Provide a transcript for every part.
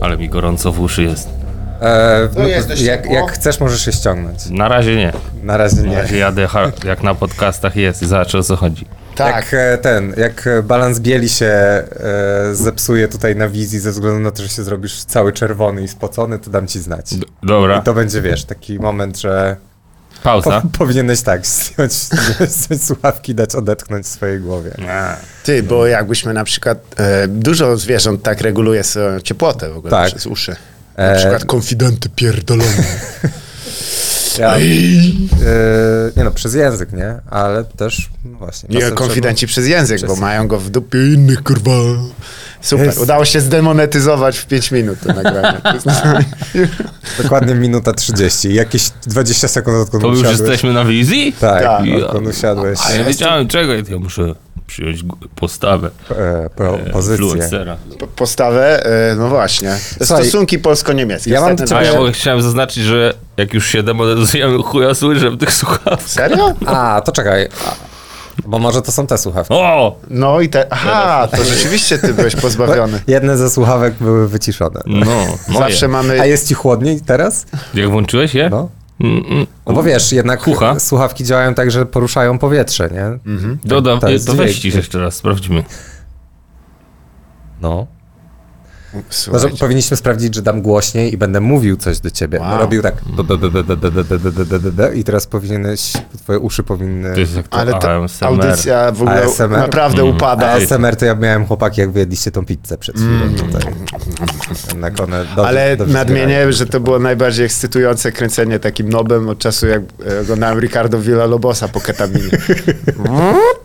Ale mi gorąco w uszy jest. E, no, jesteś jak, ciepło? jak chcesz, możesz się ściągnąć. Na razie nie. Na razie Na nie. razie jadę hard, jak na podcastach jest i zobaczę o co chodzi. Tak. Jak e, ten, jak e, balans bieli się e, zepsuje tutaj na wizji ze względu na to, że się zrobisz cały czerwony i spocony, to dam ci znać. D- dobra, I to będzie, wiesz, taki moment, że po, pauza. powinieneś tak, zdjąć, zdjąć słuchawki, dać odetchnąć w swojej głowie. No. Ty, bo jakbyśmy na przykład, e, dużo zwierząt tak reguluje swoją ciepłotę w ogóle Tak. przez uszy. Na E, przykład konfidenty pierdolone. Ja, e, nie no, przez język, nie? Ale też, no właśnie. Nie, czasem konfidenci przez język, bo Przez- mają go w dupie innych, kurwa. Super, Jest. udało się zdemonetyzować w 5 minut to nagranie. Trzeba, dokładnie minuta 30, jakieś 20 sekund odkąd To już usiadłeś. jesteśmy na wizji? Tak, Tak. odkąd usiadłeś. A ja wiedziałem czego, ja muszę przyjąć g- postawę. E, po, e, pozycję. influencera. Po- Postawę, e, no właśnie. Słuchaj, Stosunki polsko-niemieckie. ja mam do Ostatnio- A ciebie- ja mogę- chciałem zaznaczyć, że jak już się demonetyzujemy, chuja słyszę w tych słuchawkach. Serio? A, to czekaj. A, Bo może to są te słuchawki. O! No i te... Aha, to rzeczywiście ty byłeś pozbawiony. Jedne ze słuchawek były wyciszone. No, moje. Zawsze A mamy... jest ci chłodniej teraz? Jak włączyłeś je? No. Mm, mm. No bo wiesz, jednak Kucha. słuchawki działają tak, że poruszają powietrze, nie? Mhm. Dodam, Tak, To to, jest to weź dźwięk. cisz jeszcze raz, sprawdźmy. No. Może Słuchajcie. powinniśmy sprawdzić, że dam głośniej i będę mówił coś do ciebie. Wow. Robił tak b- b- b- b- b- b- b- b- b- b- b- b- i teraz powinieneś, twoje uszy powinny... To jest jak to Ale ta ASMR. audycja w ogóle ASMR. naprawdę Mm. upada. ASMR to ja miałem chłopaki, jak wyjedliście tą pizzę przed chwilą tutaj. Jednak one dobrze, Mm. Ale dobrze zbierają. nadmienię, że to było najbardziej ekscytujące kręcenie takim nobem od czasu, jak e, oglądałem Ricardo Villalobosa po ketaminie.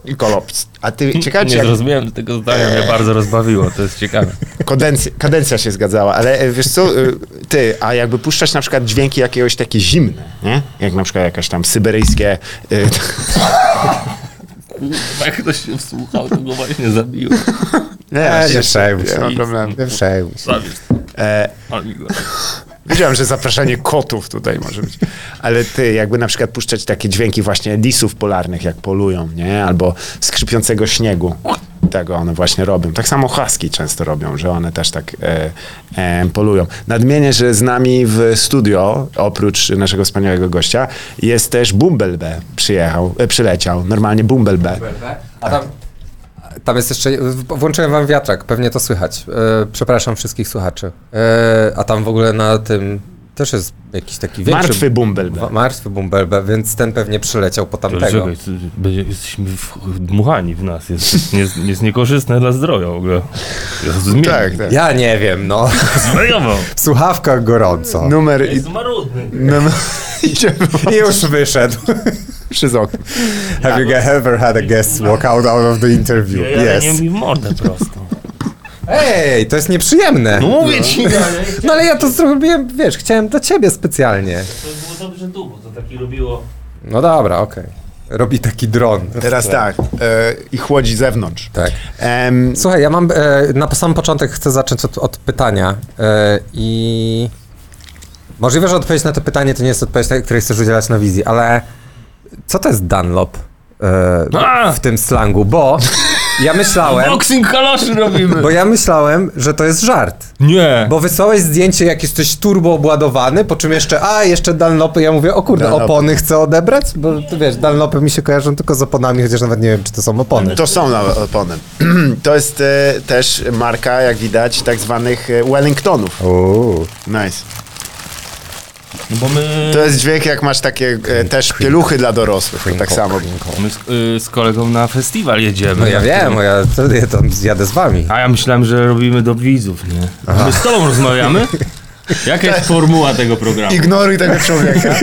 I kolops. A ty, ciekawe, czy Nie jak zrozumiałem tego zdania, mnie bardzo rozbawiło, to jest ciekawe. kadencja, kadencja się zgadzała, ale e, wiesz co, e, ty, a jakby puszczasz na przykład dźwięki jakiegoś takie zimne, nie? Jak na przykład jakaś tam syberyjskie... e, Kurwa, jak ktoś się wsłuchał, to go właśnie zabiło. Nie, E, nie się- przejmuj nie się. ma problemu. Nie przejmuj się. Zabisz. E, Oni go- Wiedziałem, że zapraszanie kotów tutaj może być. Ale ty, jakby na przykład puszczać takie dźwięki właśnie lisów polarnych, jak polują, nie? Albo skrzypiącego śniegu. Tego one właśnie robią. Tak samo haski często robią, że one też tak e, e, polują. Nadmienię, że z nami w studio, oprócz naszego wspaniałego gościa, jest też Bumblebe przyjechał, e, przyleciał. Normalnie Bumblebe. A tam, tam jest jeszcze. w- Włączyłem wam wiatrak, pewnie to słychać. E, przepraszam wszystkich słuchaczy. E, a tam w ogóle na tym też jest jakiś taki większy. Martwy Bumblebe. wa- Martwy bumbelbe, więc ten pewnie przyleciał po tamtego. Czekaj, co- będzie- jesteśmy w- dmuchani w nas, jest, jest, jest niekorzystne dla zdrowia w ogóle. Jest zmieni- Tak, tak. Ja nie wiem, no. Zwariował. W słuchawkach gorąco. No. Numer... I, Jest marudny. numer idziemy I już wyszedł. przez okno. Have you ever had a guest walk out of the interview? Ja ja nie Yes. mi w mordę prosto. Ej, to jest nieprzyjemne. No mówię ci, ale No ale ja to zrobiłem, wiesz, chciałem dla ciebie specjalnie. to było dobrze tu, bo to taki robiło... No dobra, okej. Robi taki dron. Teraz tak. E, I chłodzi zewnątrz. Tak. Em, Słuchaj, ja mam e, na sam początek chcę zacząć od, od pytania e, i możliwe, że odpowiedź na to pytanie to nie jest odpowiedź, na- której chcesz udzielać na wizji, ale co to jest Dunlop e, A! w tym slangu? Bo ja myślałem, Boxing kaloszy robimy. bo ja myślałem, że to jest żart, Nie. bo wysłałeś zdjęcie, jak jesteś turbo obładowany, po czym jeszcze, a jeszcze Dunlopy, ja mówię, o kurde, Dunlopy. opony chcę odebrać, bo ty wiesz, Dunlopy mi się kojarzą tylko z oponami, chociaż nawet nie wiem, czy to są opony. To są na- opony. To jest e, też marka, jak widać, tak zwanych e, Wellingtonów. Uuu. Nice. No bo my, To jest dźwięk, jak masz takie e, też pieluchy dla dorosłych. To tak samo. my z, y, z kolegą na festiwal jedziemy. No ja wiem, bo ja, to, ja tam jadę z wami. A ja myślałem, że robimy do widzów, nie? My z tobą rozmawiamy? Jaka jest formuła tego programu? Ignoruj tego człowieka.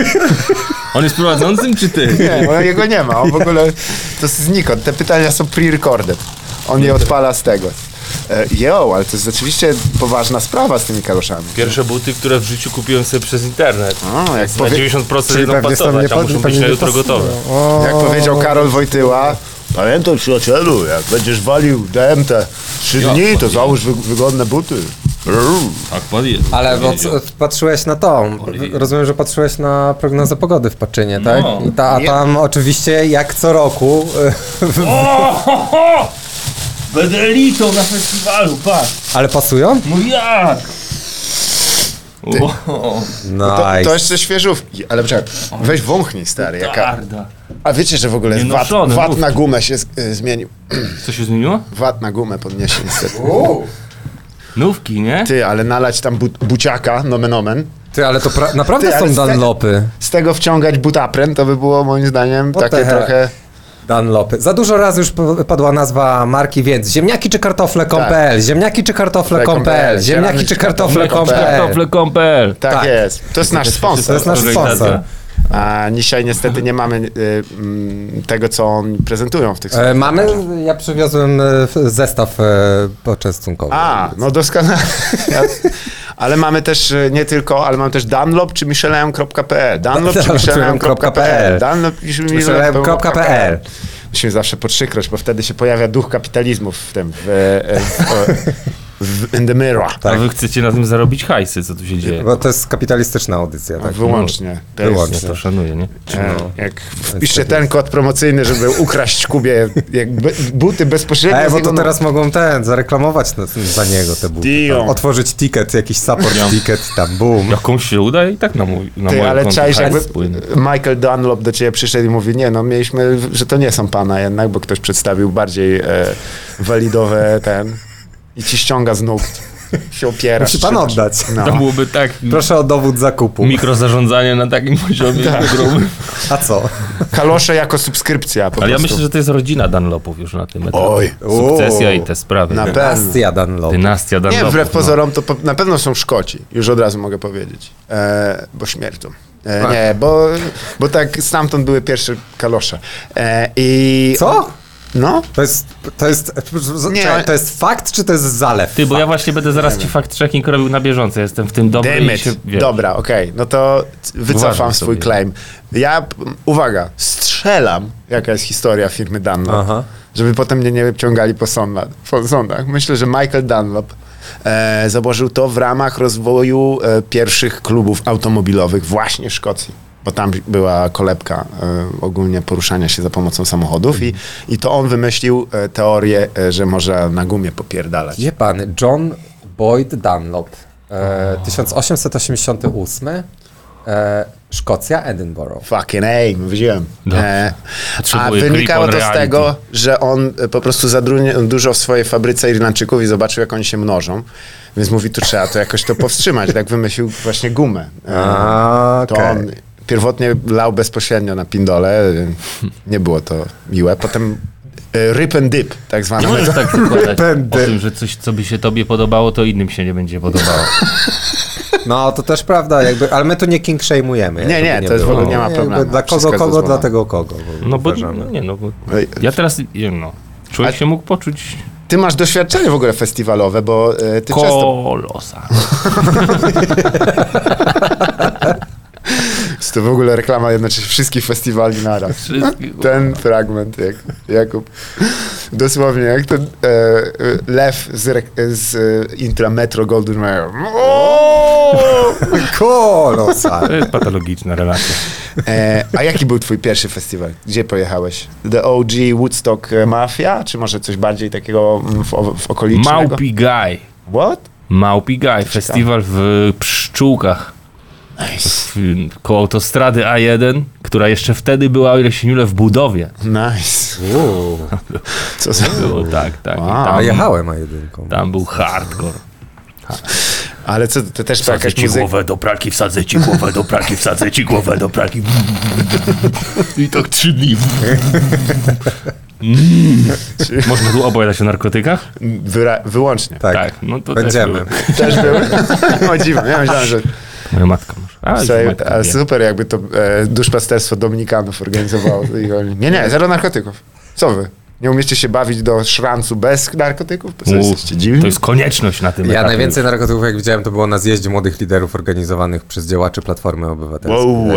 On jest prowadzącym czy ty? Nie, bo jego nie ma. On w ogóle to jest znikąd. Te pytania są pre-recorded. On je odpala z tego. E, Jo, ale to jest rzeczywiście poważna sprawa z tymi karoszami. Pierwsze buty, które w życiu kupiłem sobie przez internet. O, jak, Na powie- 90% Czyli jedną pewnie są pasować, a niepod- muszą być pewnie na jutro niepos- gotowe. jak powiedział Karol Wojtyła, Pamiętaj przyjacielu, jak będziesz walił DMT trzy Ja, dni, to załóż wy- wygodne buty. Tak, podjedzie. Ale bo c- patrzyłeś na tą. Rozumiem, że patrzyłeś na prognozę pogody w Paczynie, tak? No. I ta, a tam oczywiście jak co roku. O, ho, ho! Będę elitą na festiwalu, patrz! Ale pasują? No jak? Ty. Nice. To, to jeszcze świeżówki, ale czekaj, weź wąchnij stary, jaka... Tarda. A wiecie, że w ogóle VAT, Nienoszone, VAT mów. na gumę się z, y, zmienił. Co się zmieniło? VAT na gumę podniesie niestety. Nówki, nie? Ty, ale nalać tam bu buciaka, nomen omen, Ty, ale to pra- naprawdę Ty, ale są z te- Dunlopy. z tego wciągać butapren, to by było moim zdaniem What takie the hell? trochę... Dunlopy. Za dużo razy już p- padła nazwa marki, więc ziemniaki czy kartofle.pl, ziemniaki czy kartofle.pl, ziemniaki czy kartofle.pl. Kartofle.pl Tak, Tak. jest. To jest nasz sponsor. To jest nasz sponsor. A dzisiaj niestety nie mamy y, mm, tego, co oni prezentują w tych E, Mamy, ja przywiozłem e, f- zestaw e, poczęstunkowy. A, no doskonale. Ja- ale mamy też y, nie tylko, ale mamy też Dunlop czy Michelin.pl. E. Dunlop czy E. Michelin.pl. E. Dunlop czy Michelin.pl. Musimy zawsze podszykroć, bo wtedy się pojawia duch kapitalizmu w tym, w, e, w, w in the Tak, mirror. A wy chcecie na tym zarobić hajsy, co tu się dzieje? Bo to jest kapitalistyczna audycja, tak? Wyłącznie. To Ja Wyłącznie. No. to szanuję, nie? E, Jak wpiszcie ten kod promocyjny, żeby ukraść Kubie jak be, buty bezpośrednio. E, z bo jego to no- teraz mogą ten, zareklamować na, za niego te buty. Deal. tam. Otworzyć ticket, jakiś support ticket, tam, boom. Jakąś się uda i tak na mój na Ty, moje ale konto tak czaisz, hajs jakby No. spłynie. Michael Dunlop do ciebie przyszedł i mówi, nie, no mieliśmy, że to nie są pana jednak, bo ktoś przedstawił bardziej e, walidowe ten i ci ściąga z nóg, się opiera. Musi pan oddać. To No. byłoby tak Proszę o dowód zakupu. mikrozarządzanie na takim poziomie Tak. grubym. A co? Kalosze jako subskrypcja po Ale ja prostu. myślę, że to jest rodzina Dunlopów już na tym etapie. Oj. Sukcesja i te sprawy. Na nie? pewno. Astia Dunlop. Dynastia Dunlopów. Nie, wbrew no. pozorom to po, na pewno są Szkoci, już od razu mogę powiedzieć, e, bo śmierdzą. E, A. nie, bo, bo tak stamtąd były pierwsze kalosze. E, i Co? No, To jest, to jest, Nie. czekaj, to jest fakt, czy to jest zalew? Ty, bo ja właśnie będę zaraz ci fakt checking robił na bieżąco. Jestem w tym dobry Damn i się, it. wiesz, Dobra, okej, no to c- wycofam Uważaj swój sobie. claim. Ja, p- uwaga, strzelam, jaka jest historia firmy Dunlop, Aha. żeby potem mnie nie wyciągali po, sądla, po sądach. Myślę, że Michael Dunlop e, założył to w ramach rozwoju e, pierwszych klubów automobilowych właśnie w Szkocji. Bo tam była kolebka e, ogólnie poruszania się za pomocą samochodów i, i to on wymyślił e, teorię, e, że można na gumie popierdalać. Gdzie pan? John Boyd Dunlop. E, 1888. E, Szkocja, Edinburgh. Fucking ej, mówiłem. Dobrze. E, a No. Potrzebuję wynikało grip on to z reality. tego, że on e, po prostu zadrunie dużo w swojej fabryce Irlandczyków i zobaczył, jak oni się mnożą. Więc mówi, tu trzeba to jakoś to powstrzymać. Tak wymyślił właśnie gumę. E, A, to okej. on pierwotnie lał bezpośrednio na pindole. e, Nie było to miłe. Potem e, rip and dip, tak Nie zwane. możesz tak zakładać Będę. o tym, że coś, co by się tobie podobało, to innym się nie będzie podobało. No, to też prawda, jakby, ale my tu nie king shame'ujemy. Nie, nie, to jest w ogóle nie ma problemu. Dla kogo, Wszystko jest kogo, dozwolone. dla tego kogo. No bo, uważamy. no, nie no, bo Ej, ja teraz, nie, no, człowiek A- się mógł poczuć Ty masz doświadczenie w ogóle festiwalowe, bo e, ty często kolosa. To w ogóle reklama jednocześnie wszystkich festiwali naraz. Wszystkich. Ten fragment, jak Jakub. Dosłownie, jak ten e, e, lew z, rek- z e, intra Metro Golden Mayer. O! Kolosal. To jest patologiczna relacja. E, a jaki był twój pierwszy festiwal? Gdzie pojechałeś? The OG Woodstock Mafia? Czy może coś bardziej takiego w, w okolicy? Małpi Guy. What? Małpi Guy, festiwal w Pszczółkach. Nice. w- koło autostrady A1, która jeszcze wtedy była, o ile się nie mylę, w budowie. Nice. Uuu. Co za... Było tak, tak. I Wow. A Tam, jechałem a jedynką. tam był hardcore. Ale co, to też była Wsadzę jakaś ci muzyka? głowę do pralki, wsadzę ci głowę do pralki, wsadzę ci głowę do pralki. I tak trzy dni. Mm. Można tu opowiadać o narkotykach? Wyra- wyłącznie. Tak. no to Będziemy. Też Też był. o dziwo, ja myślałem, że... był. Moja matka może. A, Słuchaj, matka ale wie. super, jakby to e, duszpasterstwo Dominikanów organizowało. I oni, nie, nie, zero narkotyków. Co wy? Nie umiecie się bawić do szrancu bez narkotyków? Po co U, jesteście dziwni? to jest konieczność na tym Ja etapie. najwięcej narkotyków, jak widziałem, to było na zjeździe młodych liderów organizowanych przez działaczy Platformy Obywatelskiej. Wow.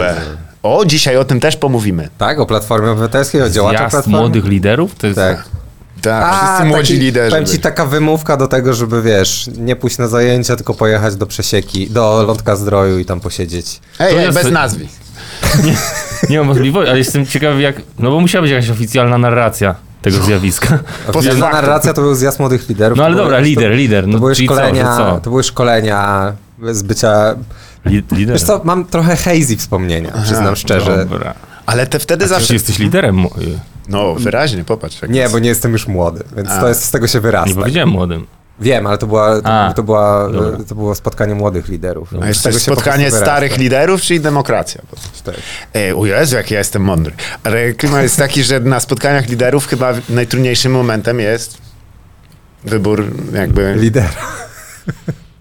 O, dzisiaj o tym też pomówimy. Tak, o Platformie Obywatelskiej, o działaczach Zjazd Platformy. młodych liderów? To jest Tak. Tak, A, wszyscy młodzi taki, liderzy. Powiem ci, byli. taka wymówka do tego, żeby wiesz, nie pójść na zajęcia, tylko pojechać do Przesieki, do Lądka Zdroju i tam posiedzieć. to Ej, ej, jest- bez nazwisk. Nie mam możliwości, ale jestem ciekawy jak... No bo musiała być jakaś oficjalna narracja. tego zjawiska. Poza Oficjalna faktem. narracja to był zjazd młodych liderów. No ale To dobra, były- lider, to- lider. To No były czyli co, że szkolenia, co? to były szkolenia z bycia... Li, lider. Wiesz co, mam trochę hazy wspomnienia, przyznam szczerze. Dobra. Ale te wtedy Zawsze zawsze... jesteś liderem. mo- y, No, wyraźnie, popatrz. jak Nie, jest. bo nie jestem już młody, więc A. to jest, z tego się Nie wyrasta. powiedziałem młodym. Wiem, ale to, była, to, A, to, była, dobra. to było spotkanie młodych liderów. A Z jest tego też się po prostu spotkanie wyrasta. starych liderów, czyli demokracja. Tak. Ej, E, o Jezu, jak ja jestem mądry. Ale klimat jest taki, że na spotkaniach liderów chyba najtrudniejszym momentem jest wybór jakby... Lidera.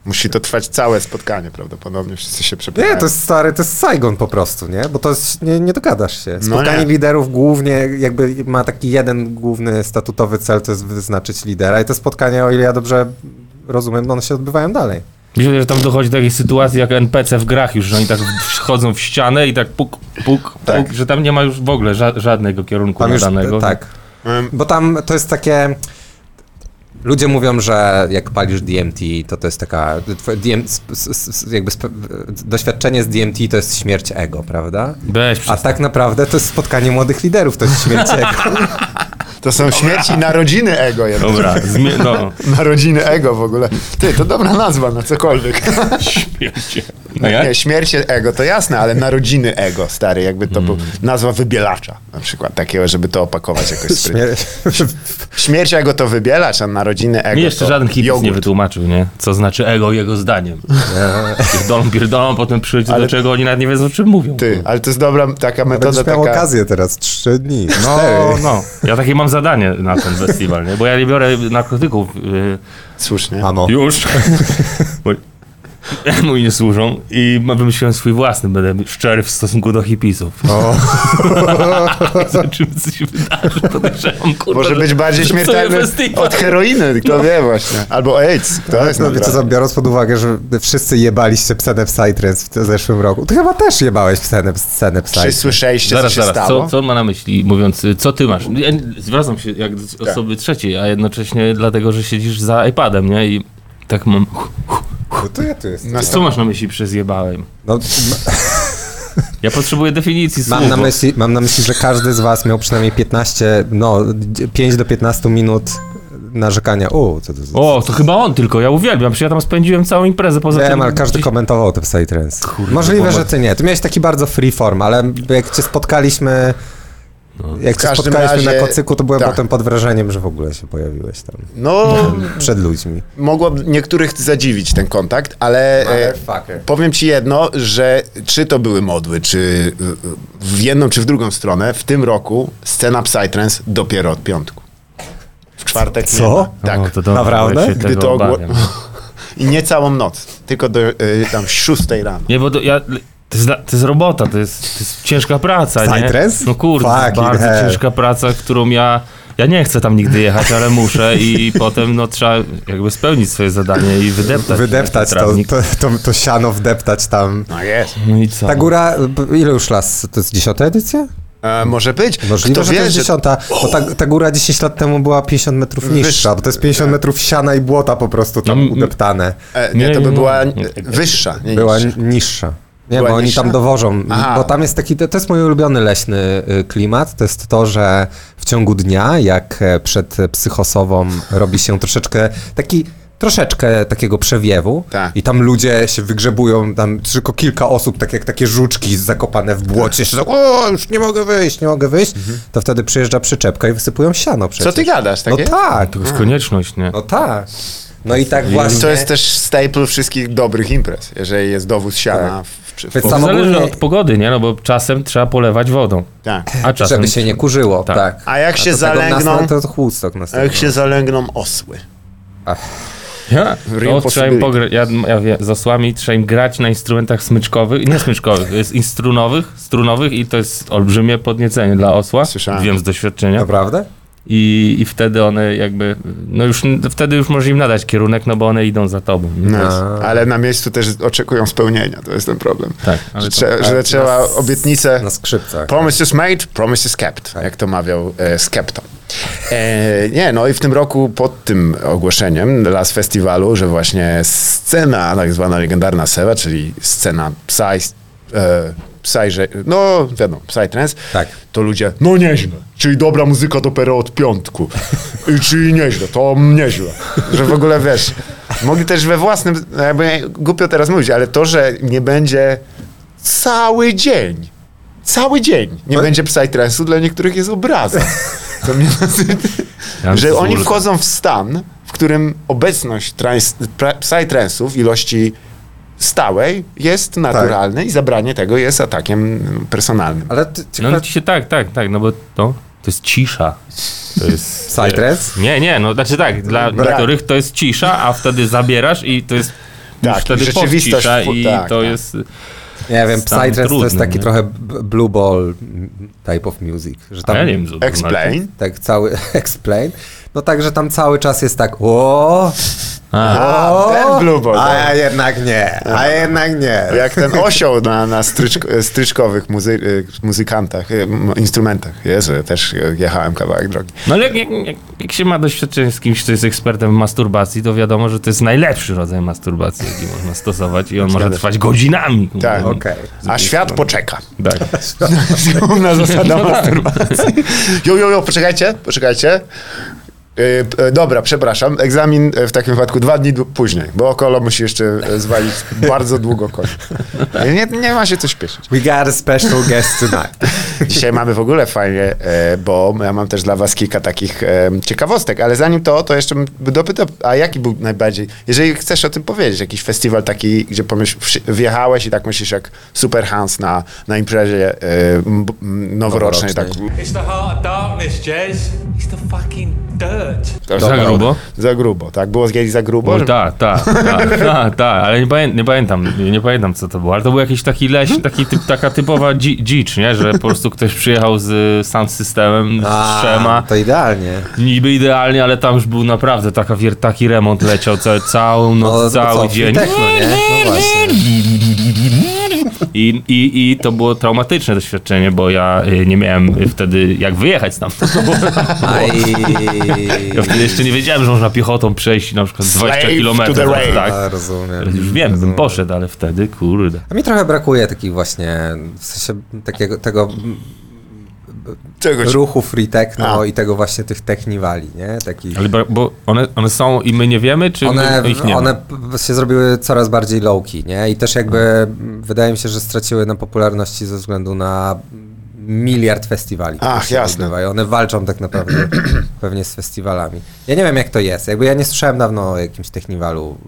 Musi to trwać całe spotkanie prawdopodobnie, wszyscy się przepierają. Nie, to jest stary, to jest Saigon po prostu, nie? Bo to jest, nie, nie dogadasz się. Spotkanie No nie. liderów głównie jakby ma taki jeden główny statutowy cel, to jest wyznaczyć lidera i te spotkania, o ile ja dobrze rozumiem, one się odbywają dalej. Myślę, że tam dochodzi do takiej sytuacji jak NPC w grach już, że oni tak wchodzą w ścianę i tak puk, puk, puk, Tak. że tam nie ma już w ogóle ża- żadnego kierunku Tam już, nadanego. tak. Em, Bo tam to jest takie. Ludzie mówią, że jak palisz DMT, to to jest taka. twoje DM, s- s- s- jakby sp, doświadczenie z DMT to jest śmierć ego, prawda? Weź, A przestań. tak naprawdę to jest spotkanie młodych liderów, to jest śmierć ego. To są śmierci narodziny ego. Jednak. Dobra, zmie- no. Narodziny ego w ogóle. Ty, to dobra nazwa na cokolwiek. Śmiecie. No jak? Nie, śmierć ego to jasne, ale narodziny ego, stary, jakby to był nazwa wybielacza na przykład takiego, żeby to opakować jakoś sprytnie. Śmier- Śmierć ego to wybielacz, a narodziny ego Mi jeszcze to żaden hipis nie jogurt. wytłumaczył, nie? Co znaczy ego jego zdaniem. Pierdolą, pierdolą, potem przychodzi Ale- do czego oni nawet nie wiedzą, o czym mówią. Ty, ale No to jest dobra taka metoda Mhm. Będziesz miał taka... okazję teraz, trzy dni, No, cztery. no. Ja takie mam zadanie na ten festiwal, nie? Bo ja nie biorę narkotyków. y, Słusznie. Mamo, Już. Bo- Mu nie służą i ma- wymyśliłem swój własny, będę szczery w stosunku do hipisów. O. Zobaczymy, co się wydarzy, podejrzewam, kurwa. Może że- być bardziej że śmiertelny cały festiwal- od heroiny, kto wie właśnie. Albo AIDS, kto jest no, wiecie co, naprawdę. biorąc pod uwagę, że wszyscy jebaliście psenem Psytrance w zeszłym roku, ty chyba też jebałeś psenem, psenem Czy Psytrance. słyszeliście, co Zaraz, się zaraz, stało? co, co on ma na myśli, mówiąc, y, co ty masz? Ja nie- zwracam się jak do Tak. osoby trzeciej, a jednocześnie dlatego, że siedzisz za iPadem, nie? I tak mam... No to ja tu jestem. Na Co masz na myśli przez jebałem? No, Ja potrzebuję definicji słów. Mam na, bo- myśli, mam na myśli, że każdy z was miał przynajmniej 15, no 5 do 15 minut narzekania. U, co to za... O, to chyba on tylko, ja uwielbiam, przecież ja tam spędziłem całą imprezę poza tym. Wiem, ale każdy komentował te Psytrance. Możliwe, że ty nie. Ty miałeś taki bardzo free form, ale jak cię spotkaliśmy... Jak W cię każdym spotkaliśmy razie- na kocyku, to byłem tak. potem pod wrażeniem, że w ogóle się pojawiłeś tam. No, Przed ludźmi. mogło niektórych zadziwić ten kontakt, No, ale e, Motherfucker. powiem ci jedno, że czy to były modły, czy y, y, w jedną, czy w drugą stronę, w tym roku scena Psytrance dopiero od piątku. W czwartek nie Co? ma. Tak. O, No, to dobra, Naprawdę? ja się Gdy tego to ogło- obawiam. I nie całą noc, tylko do y, tam szóstej rano. Nie, bo to, ja, to, jest, dla- to jest robota, to jest, to jest ciężka praca, nie? Psytrance? No kurde, to jest Fucking bardzo hell. ciężka praca, którą ja... Ja nie chcę tam nigdy jechać, ale muszę i potem no, trzeba jakby spełnić swoje zadanie i wydeptać. Wydeptać ten to, trawnik. to, to, to siano, wdeptać tam. No jest. No i co? Ta góra, b- ile już las? To jest dziesiąta edycja? E, może być. Możliwe, Kto że wie, to jest że dziesiąta, bo ta, ta góra 10 lat temu była 50 metrów niższa, bo to jest 50 metrów siana i błota po prostu tam No, m- udeptane. E, nie, Nie, to by nie, nie. była e, wyższa. Nie Była niższa. niższa. Nie, Była bo oni niższa? tam dowożą, Aha. bo tam jest taki, to to jest mój ulubiony leśny y, klimat, to jest to, że w ciągu dnia, jak e, przed e, psychosową robi się troszeczkę taki, troszeczkę takiego przewiewu Tak. i tam ludzie się wygrzebują, tam tylko kilka osób, tak jak takie żuczki zakopane w błocie, się tak, o, już nie mogę wyjść, nie mogę wyjść, to wtedy przyjeżdża przyczepka i wysypują siano przecież. Mhm. Co ty gadasz? No Takie? tak, To jest konieczność, nie? no tak. No i tak właśnie. To jest też staple wszystkich dobrych imprez, jeżeli jest dowóz siana. W, przy- Tak. w, Więc Bo to tam zależy ogólnie- od pogody, nie? No bo czasem trzeba polewać wodą, tak. a czasem... Żeby się nie kurzyło, tak. Tak. A jak się do tego zalęgną- nas- To, to chłóstok A jak następny. się zalęgną osły? Ja, Real to trzeba im possibility. pogra- ja, ja wiem, z osłami trzeba im grać na instrumentach smyczkowych, nie smyczkowych, jest instrunowych, strunowych i to jest olbrzymie podniecenie dla osła, Słyszałem. wiem z doświadczenia. Naprawdę? I, I wtedy one jakby, no już, wtedy już może im nadać kierunek, no bo one idą za tobą. nie? No, A. ale na miejscu też oczekują spełnienia, to jest ten problem. Tak, ale Że, to, trze- że trzeba obietnicę. Na skrzypcach. Promise is made, promise is kept, jak to mawiał e, Skepta. E, nie, no i w tym roku pod tym ogłoszeniem Las Festiwalu, że właśnie scena, tak zwana legendarna Sewa, czyli scena Psy, e, psyże, no wiadomo, psytrance, Tak. to ludzie, no nieźle, czyli dobra muzyka dopiero od piątku, I, czyli nieźle, to nieźle, że w ogóle wiesz, mogli też we własnym, no jakby głupio teraz mówić, ale to, że nie będzie cały dzień, cały dzień nie będzie psytrance'u, dla niektórych jest obraza. To mnie Ja że mam oni smulę. wchodzą w stan, w którym obecność trans, pra, psytrance'u w ilości stałej Tak. jest naturalne i zabranie tego jest atakiem mm, personalnym. Ale ty, No ciekawe, ale ci się tak, tak, tak, no bo no, to jest cisza. To jest... Psytrance? Nie, nie, no znaczy tak, dla Brak. niektórych to jest cisza, a wtedy zabierasz i to jest Tak, już wtedy rzeczywistość podcisza wpó- i tak, to tak. jest... Nie Stan wiem, psytrance to jest trudny, taki nie? trochę b- blue ball mm, type of music. Że tam Ja nie wiem, co to znaczy. Explain. Tak cały explain. No tak, że tam cały czas jest tak o, A, A, o ten blue ball, A tak. jednak nie, a jednak nie. Jak ten osioł na, na stryczko, stryczkowych muzy, muzykantach, y, m- instrumentach. Jezu, ja też y, jechałem kawałek drogi. no ale jak, jak, jak, jak się ma doświadczenie z kimś, kto jest ekspertem w masturbacji, to wiadomo, że to jest najlepszy rodzaj masturbacji, jaki można stosować i on może trwać godzinami. Tak. No, Okej. A świat poczeka. tak. Główna zasada masturbacji. Jo, jo, jo, poczekajcie, poczekajcie. Yy, p- e, dobra, przepraszam. Egzamin e, w takim wypadku dwa dni dłu- później, bo Okolo musi jeszcze e, zwalić bardzo długo koń. Nie, nie ma się co śpieszyć. We got a special guest tonight. Dzisiaj mamy w ogóle fajnie, e, bo ja mam też dla was kilka takich e, ciekawostek, ale zanim to, to jeszcze bym dopytał, a jaki był najbardziej, jeżeli chcesz o tym powiedzieć, jakiś festiwal taki, gdzie pomyśl, wsi- wjechałeś i tak myślisz jak Super Hans na, na imprezie e, m- b- m, noworocznej, tak Noworocznej. It's the heart of darkness, Jez. It's the fucking dirt. Za grubo? Za grubo, tak? Było kiedyś za grubo? Oj, tak, tak, tak, tak, tak, ale nie, pamię, nie pamiętam, nie, nie pamiętam co to było, ale to był jakiś taki leś, taki typ, taka typowa dzi, dzicz, nie, że po prostu ktoś przyjechał z y, sound systemem, z trzema, to idealnie. niby idealnie, ale tam już był naprawdę taka, wier- taki remont leciał ca, całą noc, No, cały co, dzień Techno, nie? No właśnie. I, i, i to było traumatyczne doświadczenie, bo ja y, nie miałem y, wtedy jak wyjechać stamtąd, bo Aj. ja wtedy jeszcze nie wiedziałem, że można piechotą przejść na przykład Slave 20 to the kilometrów, rail. tak, A, rozumiem. już wiem, bym poszedł, ale wtedy, kurde. A mi trochę brakuje takich właśnie, w sensie takiego, tego Czegoś. ruchu free techno A. i tego właśnie tych techniwali, nie? Takich... Ale bra- bo one, one są i my nie wiemy, czy One, my ich nie one ma? p- się zrobiły coraz bardziej low-key, nie? I też jakby Mhm. m, wydaje mi się, że straciły na popularności ze względu na miliard festiwali. które Ach, się jasne. odbywają. One walczą tak naprawdę pewnie z festiwalami. Ja nie wiem, jak to jest. Jakby ja nie słyszałem dawno o jakimś techniwalu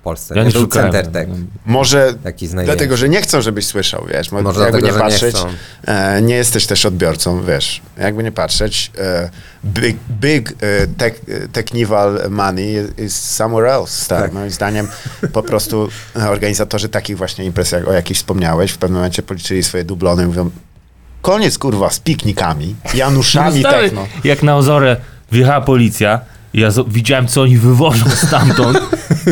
w Polsce. Ja nie był szukałem. No. Center Tech. Może Taki z dlatego, że nie chcą, żebyś słyszał, wiesz. Może Może jakby dlatego, nie że nie patrzeć, chcą. e, nie jesteś też odbiorcą, wiesz. Jakby nie patrzeć, e, big, big e, tech, e, technival money is somewhere else. Tak. Tak. Moim zdaniem po prostu e, organizatorzy takich właśnie imprez, jak, o jakich wspomniałeś, w pewnym momencie policzyli swoje dublony i mówią koniec, kurwa, z piknikami, Januszami tak, No stary, techno. Jak na Ozorę wjechała policja, i ja zo- widziałem, co oni wywożą stamtąd,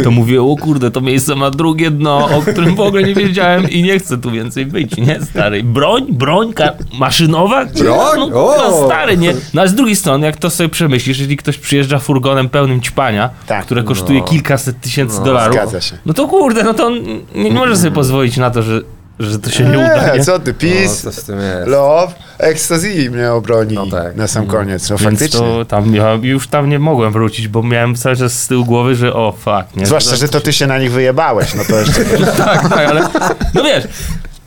to mówię, o kurde, to miejsce ma drugie dno, o którym w ogóle nie wiedziałem i nie chcę tu więcej być, nie, stary? Broń, broń ka- maszynowa? Broń? No, O! no stary, nie. No a z drugiej strony, jak to sobie przemyślisz, jeżeli ktoś przyjeżdża furgonem pełnym ćpania, Tak. które kosztuje kilkaset tysięcy dolarów, Zgadza się. Mm. no to kurde, no to on nie, nie może sobie pozwolić na to, że, że to się nie uda, nie? E, co ty, No, pis, coś w tym jest. Love, ekstazji mnie obroni No tak. na sam koniec. No Mm. Więc faktycznie. to tam, ja już tam nie mogłem wrócić, bo miałem cały czas z tyłu głowy, że o fuck, nie? Zwłaszcza, że to ty się na nich wyjebałeś, no to jeszcze tak, tak, ale no wiesz,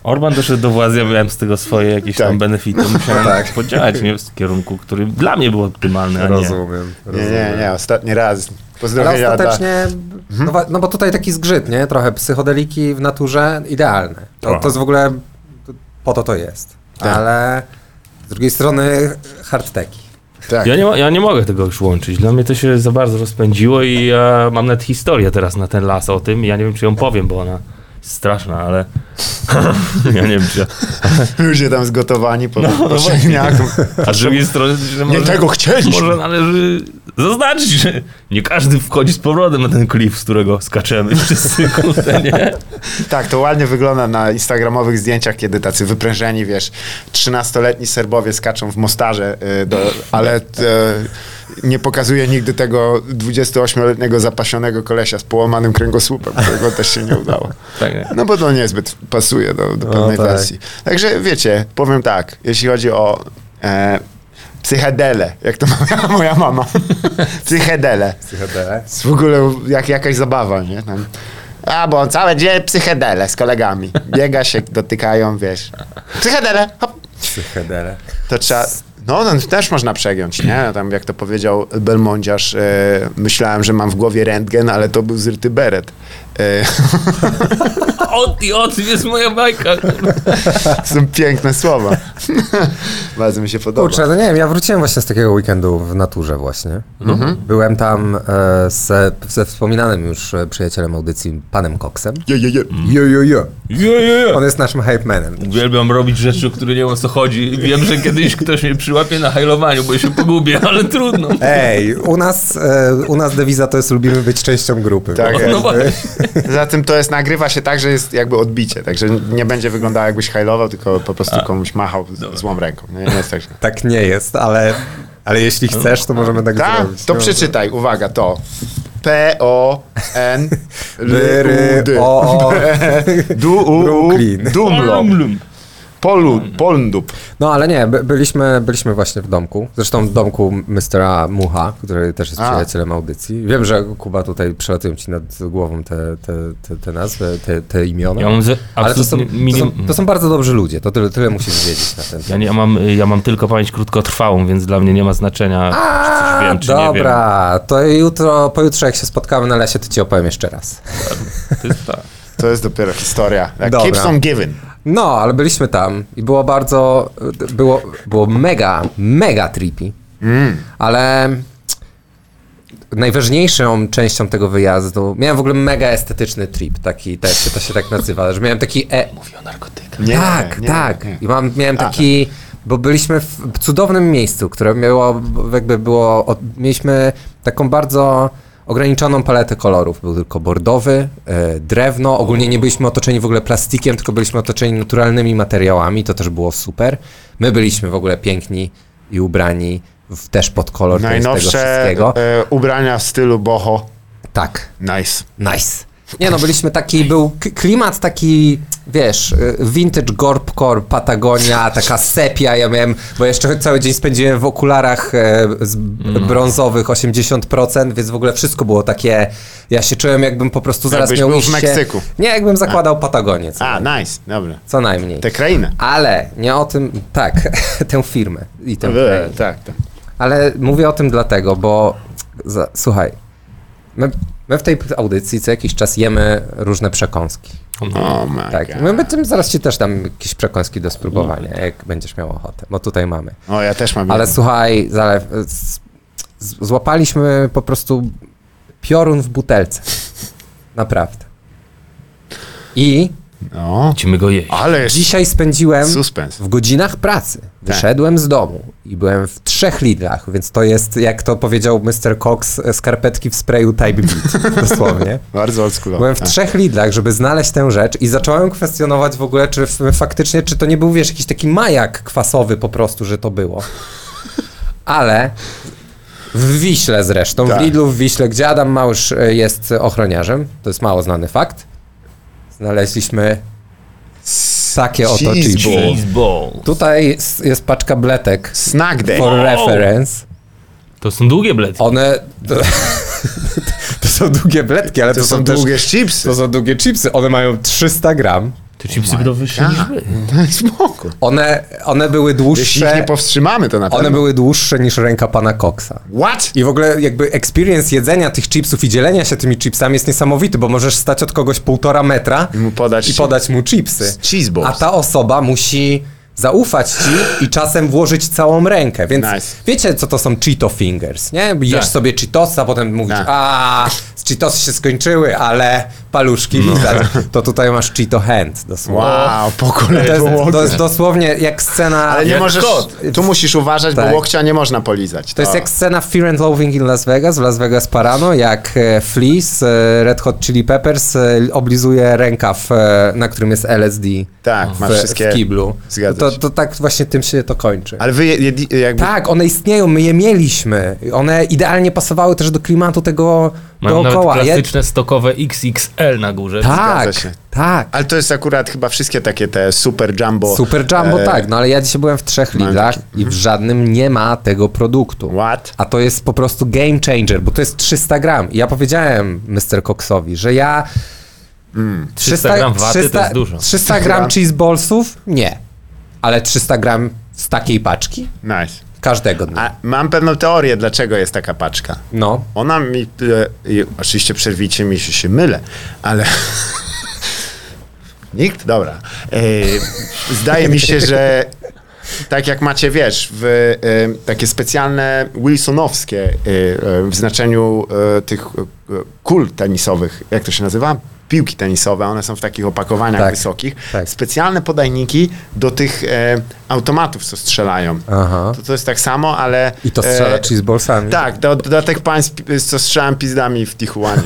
Orban doszedł do władzy, ja miałem z tego swoje jakieś Tak. tam benefity, musiałem Tak. podziałać mnie w kierunku, który dla mnie był optymalny, a nie. Rozumiem. Nie, rozumiem. nie, nie, ostatni raz. Ale Pozdrowienia dla... ostatecznie, no, wa- no bo tutaj taki zgrzyt, nie? Trochę psychodeliki w naturze, idealne. To, Trochę. to jest w ogóle, to- po to to jest. Tak. Ale z drugiej strony hardteki. Tak. Ja nie, mo- ja nie mogę tego już łączyć. Dla mnie to się za bardzo rozpędziło i ja mam nawet historię teraz na ten las o tym. Ja nie wiem, czy ją powiem, bo ona jest straszna, ale ja nie wiem, czy ja... Ludzie tam zgotowani po, po No, właśnie. szewniaku. A z drugiej strony... że Nie może- tego chcieliśmy. Może należy zaznaczyć, że nie każdy wchodzi z powrotem na ten klif, z którego skaczemy wszyscy, kurde, nie? Tak, to ładnie wygląda na instagramowych zdjęciach, kiedy tacy wyprężeni, wiesz, 13-letni Serbowie skaczą w Mostarze, y, do, ale t, y, nie pokazuje nigdy tego 28-letniego zapasionego kolesia z połamanym kręgosłupem, którego też się nie udało. Tak, nie? No bo to niezbyt pasuje do, do pewnej tak. wersji. Także wiecie, powiem tak, jeśli chodzi o e, psychedele, jak to mówiła moja mama, psychedele. Jest w ogóle jak, jakaś zabawa, nie? Tam. A, bo on całe dzień psychedele z kolegami. Biega się, dotykają, wiesz. Psychedele, hop. Psychedele. To trzeba... No, no, też można przegiąć, nie? Tam, jak to powiedział Belmondziarz, e, myślałem, że mam w głowie rentgen, ale to był zryty beret. E, O, ty, o, ty jest moja bajka, kurde. to są piękne słowa. Bardzo mi się podoba. Kurczę, no nie wiem, ja wróciłem właśnie z takiego weekendu w naturze właśnie. Byłem tam e, ze, ze wspominanym już e, przyjacielem audycji, panem Koksem. Je, je, je. Jo, jo, jo. Je, je, je. On jest naszym hype manem. Uwielbiam robić rzeczy, o które nie wiem o co chodzi. Wiem, że kiedyś ktoś mnie przyłapie na hajlowaniu, bo ja się pogubię, ale trudno. Ej, u nas, e, u nas dewiza to jest lubimy być częścią grupy. Tak, No właśnie. Za tym to jest, nagrywa się tak, że jest jakby odbicie, także nie będzie wyglądało jakbyś hajlował, tylko po prostu komuś machał z- złą ręką. Nie, nie jest tak, że... Tak nie jest, ale, ale jeśli chcesz, to możemy tak Tak, zrobić. to przeczytaj, uwaga, to. P O N L U Byry, D o, o. Du U U Brooklyn. Dumlo Blum. Polu Polndup. No ale nie, by, byliśmy, byliśmy właśnie w domku. Zresztą w domku Mr. Mucha, który też jest A. przyjacielem audycji. Wiem, że Kuba tutaj przelatują ci nad głową te, te, te, te nazwy, te, te imiona. Ja mam ze- ale to są, absolutnie to, są, minim- to są bardzo dobrzy ludzie, to tyle, tyle musisz wiedzieć na ten Ja, nie, ja, mam, ja mam tylko pamięć krótkotrwałą, więc dla mnie nie ma znaczenia, czy coś wiem, czy nie wiem. Dobra, to jutro, pojutrze jak się spotkamy na lesie, to ci opowiem jeszcze raz. To jest tak. To jest dopiero historia. Like, Dobra. Keeps on giving. No, ale byliśmy tam i było bardzo, było, było mega, mega trippy, ale najważniejszą częścią tego wyjazdu, miałem w ogóle mega estetyczny trip, taki, tak, to się tak nazywa, że miałem taki, e, Mówi o narkotykach. Nie, tak, nie, tak, nie. tak. i mam, miałem taki, bo byliśmy w cudownym miejscu, które miało, jakby było, od, mieliśmy taką bardzo ograniczoną paletę kolorów, był tylko bordowy, e, drewno, ogólnie nie byliśmy otoczeni w ogóle plastikiem, tylko byliśmy otoczeni naturalnymi materiałami, to też było super. My byliśmy w ogóle piękni i ubrani w, też pod kolor tego Najnowsze wszystkiego. e, ubrania w stylu boho. Tak. Nice. Nice. Nie no, byliśmy taki, był k- klimat taki, wiesz, y, vintage gorpcore, Patagonia, taka sepia, ja miałem, bo jeszcze cały dzień spędziłem w okularach e, z b- Mhm. brązowych 80%, więc w ogóle wszystko było takie, ja się czułem jakbym po prostu zaraz Jakbyś miał był w iść się- Meksyku. Nie, jakbym zakładał Patagonię, co, A, Tak. nice, dobra. co najmniej. Tę krainę. Ale nie o tym, tak, tę firmę i tę E, krainę. Tak, tak. Ale mówię o tym dlatego, bo za, słuchaj, my, my w tej audycji co jakiś czas jemy różne przekąski. Oh my Tak. God. My będziemy zaraz ci też dam jakieś przekąski do spróbowania, jak będziesz miał ochotę, bo tutaj mamy. O, ja też mam. Ale jedno. słuchaj, zalew, z, z, złapaliśmy po prostu piorun w butelce. Naprawdę. I No, Musimy go jeść. ale jest dzisiaj spędziłem suspens. w godzinach pracy. Tak. Wyszedłem z domu i byłem w trzech lidrach, więc to jest, jak to powiedział Mr. Cox, e, skarpetki w sprayu Type Beat, dosłownie. Bardzo oldschoolowo. Byłem w Tak. trzech Lidlach, żeby znaleźć tę rzecz i zacząłem kwestionować w ogóle, czy f- faktycznie, czy to nie był, wiesz, jakiś taki majak kwasowy po prostu, że to było. Ale w Wiśle zresztą, Tak. w Lidlu w Wiśle, gdzie Adam Małysz e, jest ochroniarzem, to jest mało znany fakt, znaleźliśmy takie oto Cheese chipsy. ball. Cheese ball. Tutaj s- jest paczka bletek Snack day. for reference. To są długie blety. One... To, są długie bletki, ale to, To są też- długie chipsy. to są długie chipsy. One mają 300 gram. Te chipsy będą wyższe niż wy. no Spoko. One, one były Jeśli ich nie dłuższe. powstrzymamy, to na pewno. One były dłuższe niż ręka pana Koksa. What? I w ogóle jakby experience jedzenia tych chipsów i dzielenia się tymi chipsami jest niesamowity, bo możesz stać od kogoś półtora metra I mu podać- i podać mu chipsy. Cheese balls. A ta osoba musi zaufać ci i czasem włożyć całą rękę. Więc Nice. wiecie, co to są Cheeto Fingers, nie? Jesz Tak. sobie Cheetosa, potem mówisz, Tak. a Cheetosy się skończyły, ale paluszki widać. To tutaj masz Cheeto Hand dosłownie. No. Wow, po kolei To było. jest, to jest dosłownie jak scena... Ale nie jak- możesz, tu musisz uważać, Tak. bo łokcia nie można polizać. To jest jak scena w Fear and Loathing in Las Vegas, w Las Vegas Parano, jak e, Flea z e, Red Hot Chili Peppers e, oblizuje rękaw, e, na którym jest LSD Tak, masz w, wszystkie... w kiblu. Zgadza To, się. to tak właśnie tym się to kończy. Ale wy je, jedli- jakby... Tak, one istnieją, my je mieliśmy. One idealnie pasowały też do klimatu tego Mam nawet dookoła. Je- klasyczne stokowe XXL na górze. tak, Zgadza się. tak. Ale to jest akurat chyba wszystkie takie te super jumbo. Super Jumbo, e, tak, no ale ja dzisiaj byłem w trzech mam lidach i w żadnym nie ma tego produktu. What? A to jest po prostu game changer, bo to jest 300 gram. I ja powiedziałem Mr. Coxowi, że ja... Mm. 300 gram waty to jest dużo. 300 gram cheese ballsów? Nie. Ale 300 gram z takiej paczki? Nice. Każdego dnia. A mam pewną teorię, dlaczego jest taka paczka. No. Ona mi... E, i, oczywiście przerwicie mi, że się mylę, ale... Nikt? Dobra. E, zdaje mi się, że tak jak macie, wiesz, w, e, takie specjalne Wilsonowskie e, e, w znaczeniu e, tych e, kul tenisowych, jak to się nazywa? Piłki tenisowe, one są w takich opakowaniach Tak, wysokich. tak. Specjalne podajniki do tych e, automatów, co strzelają. Aha. To, to jest tak samo, ale... I to strzela e, cheese ballsami. tak, do, dodatek pań, z pi- co strzelam pizdami w Tijuanie.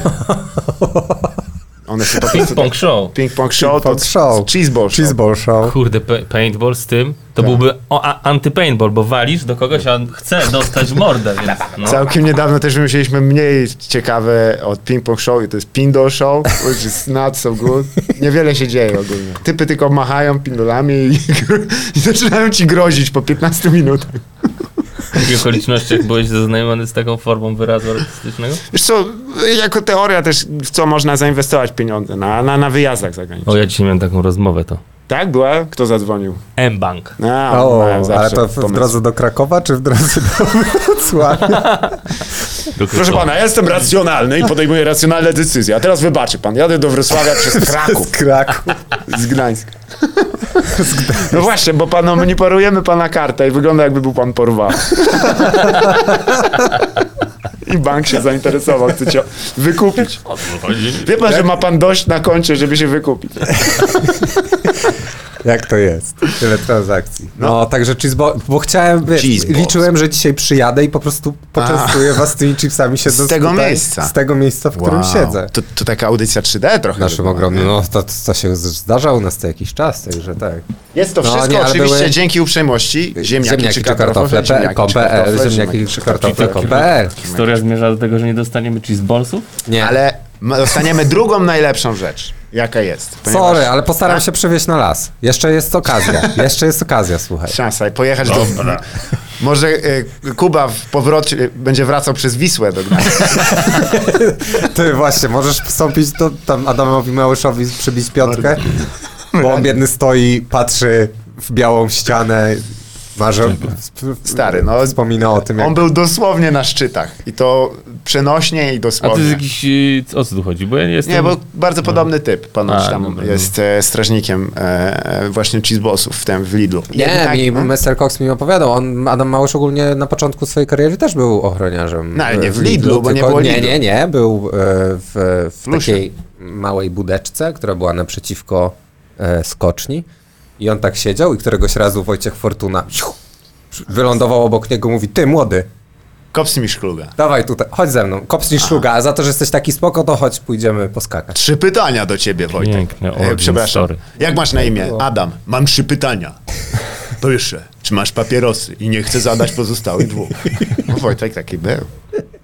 One są po prostu... tak- Pong show. Ping-pong show, Pong to show. cheeseball show. ball show. Kurde, pe- paintball z tym, to byłby o- a- antypaintball, bo walisz do kogoś, a on chce dostać w mordę, więc no. Całkiem niedawno też wymyśliliśmy mniej ciekawe od ping-pong show i to jest pindol show, which is not so good. Niewiele się dzieje ogólnie. Typy tylko machają pindolami i, i zaczynają ci grozić po 15 minutach. W jakich okolicznościach byłeś zaznajomiony z taką formą wyrazu artystycznego? Wiesz co, jako teoria też, w co można zainwestować pieniądze na, na, na wyjazdach zagranicznych. O, ja dzisiaj miałem taką rozmowę to. Tak była? Kto zadzwonił? M-Bank. A, O, mają zawsze ale to w, w pomysł. drodze do Krakowa, czy w drodze do Wrocławia? Proszę pana, ja jestem racjonalny i podejmuję racjonalne decyzje. A teraz wybaczy pan, jadę do Wrocławia przez Kraków. Z Kraków. Z Gdańska. No właśnie, bo panu monitorujemy pana kartę i wygląda jakby był pan porwany. I bank się zainteresował, chce cię wykupić. Wie pan, Tak. że ma pan dość na koncie, żeby się wykupić. Jak to jest? Tyle transakcji. No, także cheeseball, bo chciałem, wiesz, Cheeseballs. liczyłem, że dzisiaj przyjadę i po prostu poczęstuję was tymi chipsami siedząc Z tego tutaj, miejsca. Z tego miejsca, w którym siedzę. No, To, to taka audycja 3D trochę. W naszym wygląda, ogromnym, nie? no to, to się z- zdarza u nas co jakiś czas, także tak. Jest to No, wszystko nie, ale oczywiście były- dzięki uprzejmości ziemniaki, czy kartofle, kartofle, PL, ziemniaki czy kartofle, PL. Historia zmierza do tego, że nie dostaniemy cheeseballsów? Nie, ale Ale ma- dostaniemy drugą najlepszą rzecz, jaka jest. ponieważ sorry, ale postaram się przywieźć na las. Jeszcze jest okazja, jeszcze jest okazja, słuchaj. Szansa, pojechać do... Może e, Kuba w powrocie e, będzie wracał przez Wisłę do Gdańska. Ty właśnie, możesz wstąpić do tam Adamowi Małyszowi, przybić piątkę, bo on biedny stoi, patrzy w białą ścianę, marzy, Stary, no. wspomina o tym, jak On był dosłownie na szczytach i to przenośnie i A to dosłownie. jest jakiś... y, O co tu chodzi? Bo ja nie jestem... Nie, bo bardzo podobny typ, ponoć A, no, tam dobra, jest e, strażnikiem e, e, właśnie cheesebossów w tym w Lidlu. Nie, Jednak- mi no. Mr. Cox mi opowiadał. On, Adam Małysz ogólnie na początku swojej kariery też był ochroniarzem. No, ale e, nie w Lidlu, bo nie tylko- było Nie, Lidlu. nie, nie. Był e, w, w Lusie. takiej małej budeczce, która była naprzeciwko e, skoczni. I on tak siedział i któregoś razu Wojciech Fortuna siu, wylądował obok niego mówi, ty młody, Kops mi szkluga. dawaj tutaj, chodź ze mną, kopsnij szluga, a za to, że jesteś taki spoko, to chodź, pójdziemy poskakać. Trzy pytania do ciebie, Wojtek. Piękne, E, origin Przepraszam. story. Jak masz na imię? Adam. Mam trzy pytania. Pierwsze, czy masz papierosy? I nie chcę zadać pozostałych dwóch. No Wojtek taki był.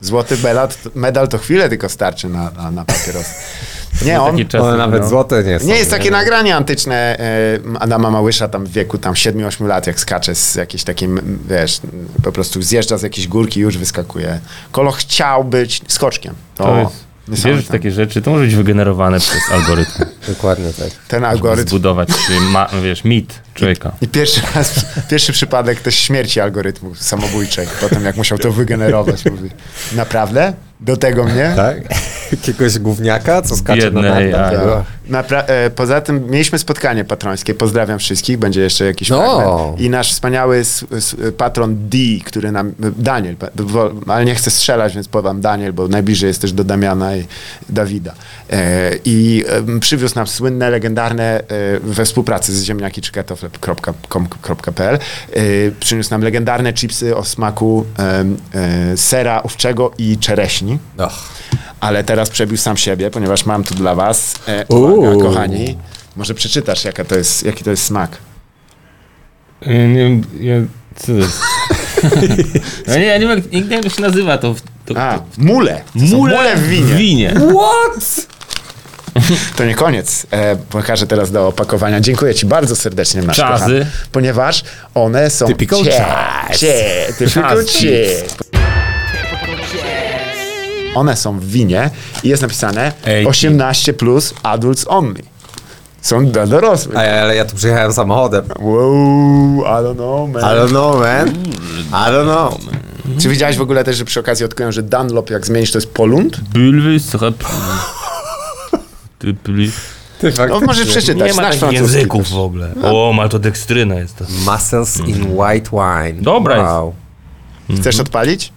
Złoty melat, medal to chwilę tylko starczy na, na, na papierosy. Nie, on... Taki czas, One nawet złote nie są. Nie, jest takie nagranie antyczne e, Adama Małysza tam w wieku tam 7-8 lat, jak skacze z jakiejś takiej, m, wiesz, m, po prostu zjeżdża z jakiejś górki i już wyskakuje. Kolo chciał być skoczkiem. To jest... niesamowite. Wiesz, tak takie rzeczy to może być wygenerowane przez algorytm. Dokładnie tak. Ten algorytm Zbudować, y, ma, wiesz, mit człowieka. I pierwszy raz, pierwszy przypadek też śmierci algorytmu samobójczej, potem jak musiał to wygenerować. Mówi, naprawdę? Do tego mnie? Tak? Jakiegoś gówniaka, co skacze Biedne na AI. nartach. Napra- e, poza tym mieliśmy spotkanie patrońskie. Pozdrawiam wszystkich, będzie jeszcze jakiś No. fragment. I nasz wspaniały s- s- patron D, który nam. Daniel, pa- wo- ale nie chcę strzelać, więc powiem Daniel, bo najbliżej jest też do Damiana i Dawida. E, I em, przywiózł nam słynne, legendarne e, we współpracy z ziemniaki czy kartofle.com.pl e, przyniósł nam legendarne chipsy o smaku em, e, sera owczego i czereśni No. ale teraz przebił sam siebie, ponieważ mam tu dla was. E, uwaga, Uuu. kochani. Może przeczytasz, jaka to jest, jaki to jest smak. Ja Y, nie wiem, ja, co to jest? no nie, ja nie wiem, jak, nie wiem jak się nazywa to. w- to, A, to mule. To są mule w winie. W winie. What? To nie koniec. E, pokażę teraz do opakowania. Dziękuję ci bardzo serdecznie, nasz Czazy. kochany, Ponieważ one są... Typical cie- czas. cie- Typical Czas. cie. One są w winie i jest napisane Ej, 18 plus adults only. Są dla dorosłych. Ej, ale ja tu przyjechałem samochodem. Wow, I don't know, man. I don't know, man. I don't know. Mhm. Czy widziałeś w ogóle też, że przy okazji odkryłem, że Dunlop, jak zmienisz, to jest Polund? Tak, Bulwy, słuchaj. Ty pli. Ty No, faktycznie. możesz przeczytać, Nie ma znasz takich francuski. języków w ogóle. O, ma to dekstryna jest to. Muscles in white wine. Dobra jest. Mhm. Chcesz odpalić?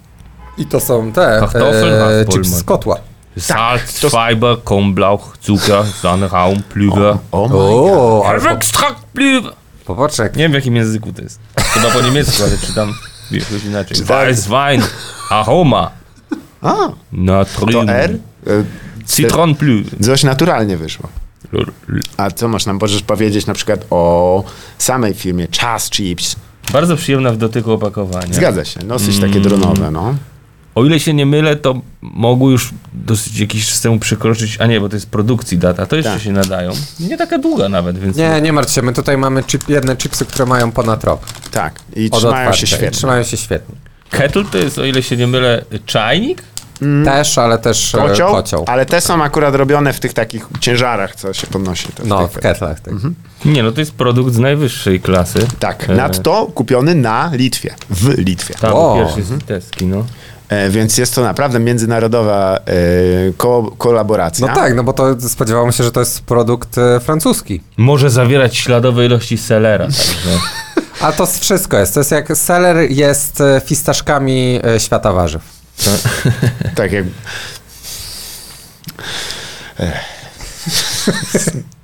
I to są te Kartofel, e, Haspel, chips man. z kotła. Salz, Schweiber, Kornblauch, Zucker, Sonnenraum, Plüwe. O, ale po, Erwekstrakt, Plüwe. popatrz jak Nie wiem w jakim języku to jest. Chyba po niemiecku, ale czytam jakoś inaczej. Czytałem. Weißwein, Aroma, A, to Natrium, R? Y, Citron Plü. Coś naturalnie wyszło. A co masz nam, możesz powiedzieć na przykład o samej firmie Czas Chips. Bardzo przyjemna w dotyku opakowania. Zgadza się, dosyć Mm. takie dronowe, no. O ile się nie mylę, to mogły już dosyć jakiś czas temu przekroczyć, a nie, bo to jest produkcji data, to jeszcze Tak. się nadają. Nie taka długa nawet, więc... Nie, nie martw się, my tutaj mamy chip, jedne chipsy, które mają ponad rok. Tak, i Od trzymają się otwarcia i świetnie. Trzymają się świetnie. Kettle to jest, o ile się nie mylę, czajnik? Też, ale też e, Kocioł, kocioł. ale te są akurat robione w tych takich ciężarach, co się podnosi. To No, w w tych- ketlach. Tak. Nie, no to jest produkt z najwyższej klasy. tak, E, nadto kupiony na Litwie, w Litwie. Tam O. pierwszy Mhm. z deski, no. E, więc jest to naprawdę międzynarodowa e, ko- kolaboracja. No tak, no bo to spodziewałem się, że to jest produkt e, francuski. Może zawierać śladowe ilości selera, także... A to z- wszystko jest. To jest jak seller jest e, fistaszkami e, świata warzyw. Tak jak. Ech.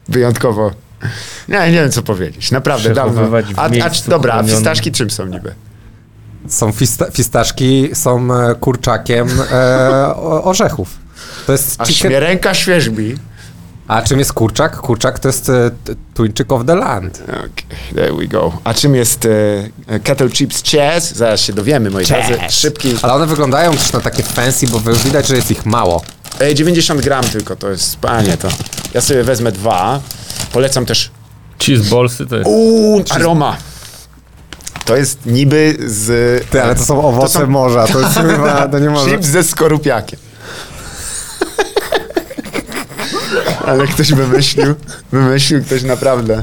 Wyjątkowo. Nie, nie wiem co powiedzieć. Naprawdę dawno. Przechowywać w A, a miejscu dobra, a chronionym. fistaszki czym są niby? Są fista- fistaszki, są e, kurczakiem e, o- orzechów. To jest A chicken... śmierenka świeżbi. A czym jest kurczak? Kurczak to jest e, t- tuńczyk of the land. Okay, there we go. A czym jest e, e, kettle chips cheese? Zaraz się dowiemy, moi drodzy. Szybki. Ale one wyglądają też na takie fancy, bo wy- widać, że jest ich mało. Ej, 90 gram tylko to jest. Panie to. Ja sobie wezmę dwa. Polecam też Cheese ballsy to jest... Uuu, aroma. To jest niby z. Ty, ale to są owoce są- morza, to jest chyba, to nie może. Chips ze skorupiakiem. Ale ktoś wymyślił, wymyślił ktoś naprawdę.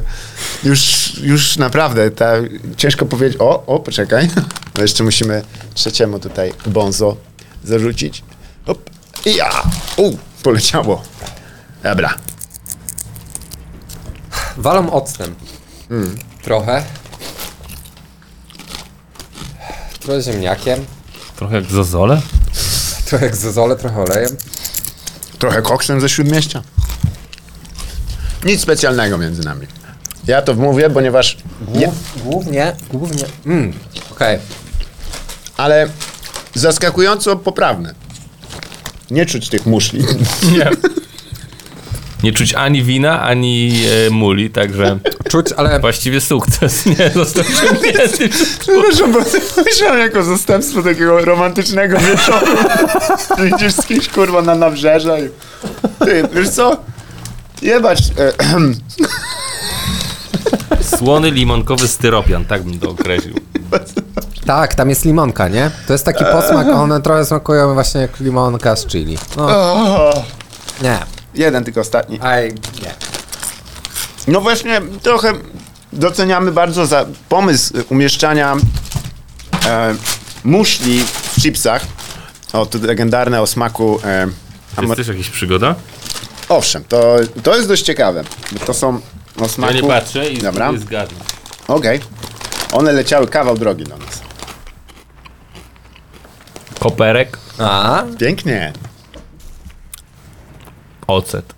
Już, już naprawdę, ta, ciężko powiedzieć, o, o, poczekaj. No jeszcze musimy trzeciemu tutaj bonzo zarzucić. Hop, i ja, u, poleciało. Dobra. Walą octem. Mm. Trochę. Trochę ziemniakiem, Trochę jak zozole? trochę egzozole, trochę olejem. Trochę koksem ze Śródmieścia. Nic specjalnego między nami. Ja to mówię, ponieważ... Nie, Głównie, głównie. Mm, okej. ale zaskakująco poprawne. Nie czuć tych muszli. Nie. Nie czuć ani wina, ani e, muli, także Czuć, ale właściwie sukces. Nie, został ciągnięty. Przepraszam, bo myślałem jako zastępstwo takiego romantycznego wieczoru. Że Idziesz z kimś, kurwa, na nabrzeże i... Ty, wiesz co? Jebać... E, Słony limonkowy styropian, tak bym to określił. tak, tam jest limonka, nie? To jest taki posmak, a one trochę smakują właśnie jak limonka z chili. No, o, nie. jeden tylko ostatni. Aj, nie. No właśnie, trochę doceniamy bardzo za pomysł umieszczania e, muszli w chipsach. O, tu legendarne o smaku... E, To amo- jest też jakaś przygoda? Owszem, to, to jest dość ciekawe. bo To są o Ja smaku... nie patrzę i, Dobra. i zgadnę. Okej. One leciały kawał drogi do nas. Koperek, A, Pięknie. ocet,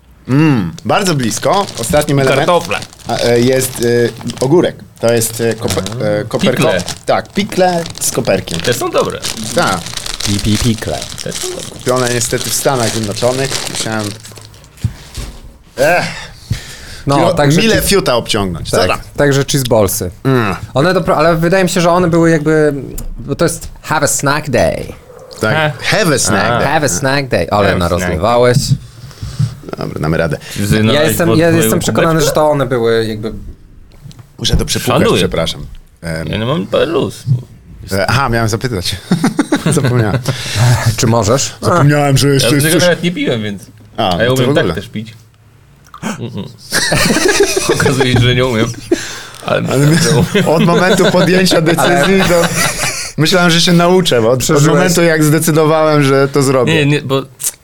Bardzo blisko. Ostatnim elementem kartofle. a, e, jest e, ogórek. To jest e, kope- e, koperko. Mhm. Pikle. Tak, pikle z koperkiem. Te są dobre. Tak. pi, pi, pikle. Te są dobre. Kupione niestety w Stanach Zjednoczonych. Musiałem No, no, także... mile cheese- fiuta obciągnąć. Dobra. tak, także cheeseballsy. One dopro... Ale wydaje mi się, że one były jakby... Bo to jest have a snack day. Tak. Have a snack. Have a snack day. Have Ale a narozlewałeś. Dobra, damy radę. no, Ja jestem, ja jestem przekonany, że to one były jakby... Muszę to przepłukać, Szanuję. przepraszam. Em, Ja nie mam luz. e, aha, miałem zapytać. Zapomniałem. Czy możesz? Zapomniałem, że Ja jeszcze jest tego coś... nawet nie piłem, więc... A, A ja no to w umiem tak ogóle. też pić. Mm-mm. Okazuje się, że nie umiem. Ale, że umiem. Od momentu podjęcia decyzji do... Myślałem, że się nauczę, bo od, od Przeżyłeś. momentu jak zdecydowałem, że to zrobię. Nie, nie, bo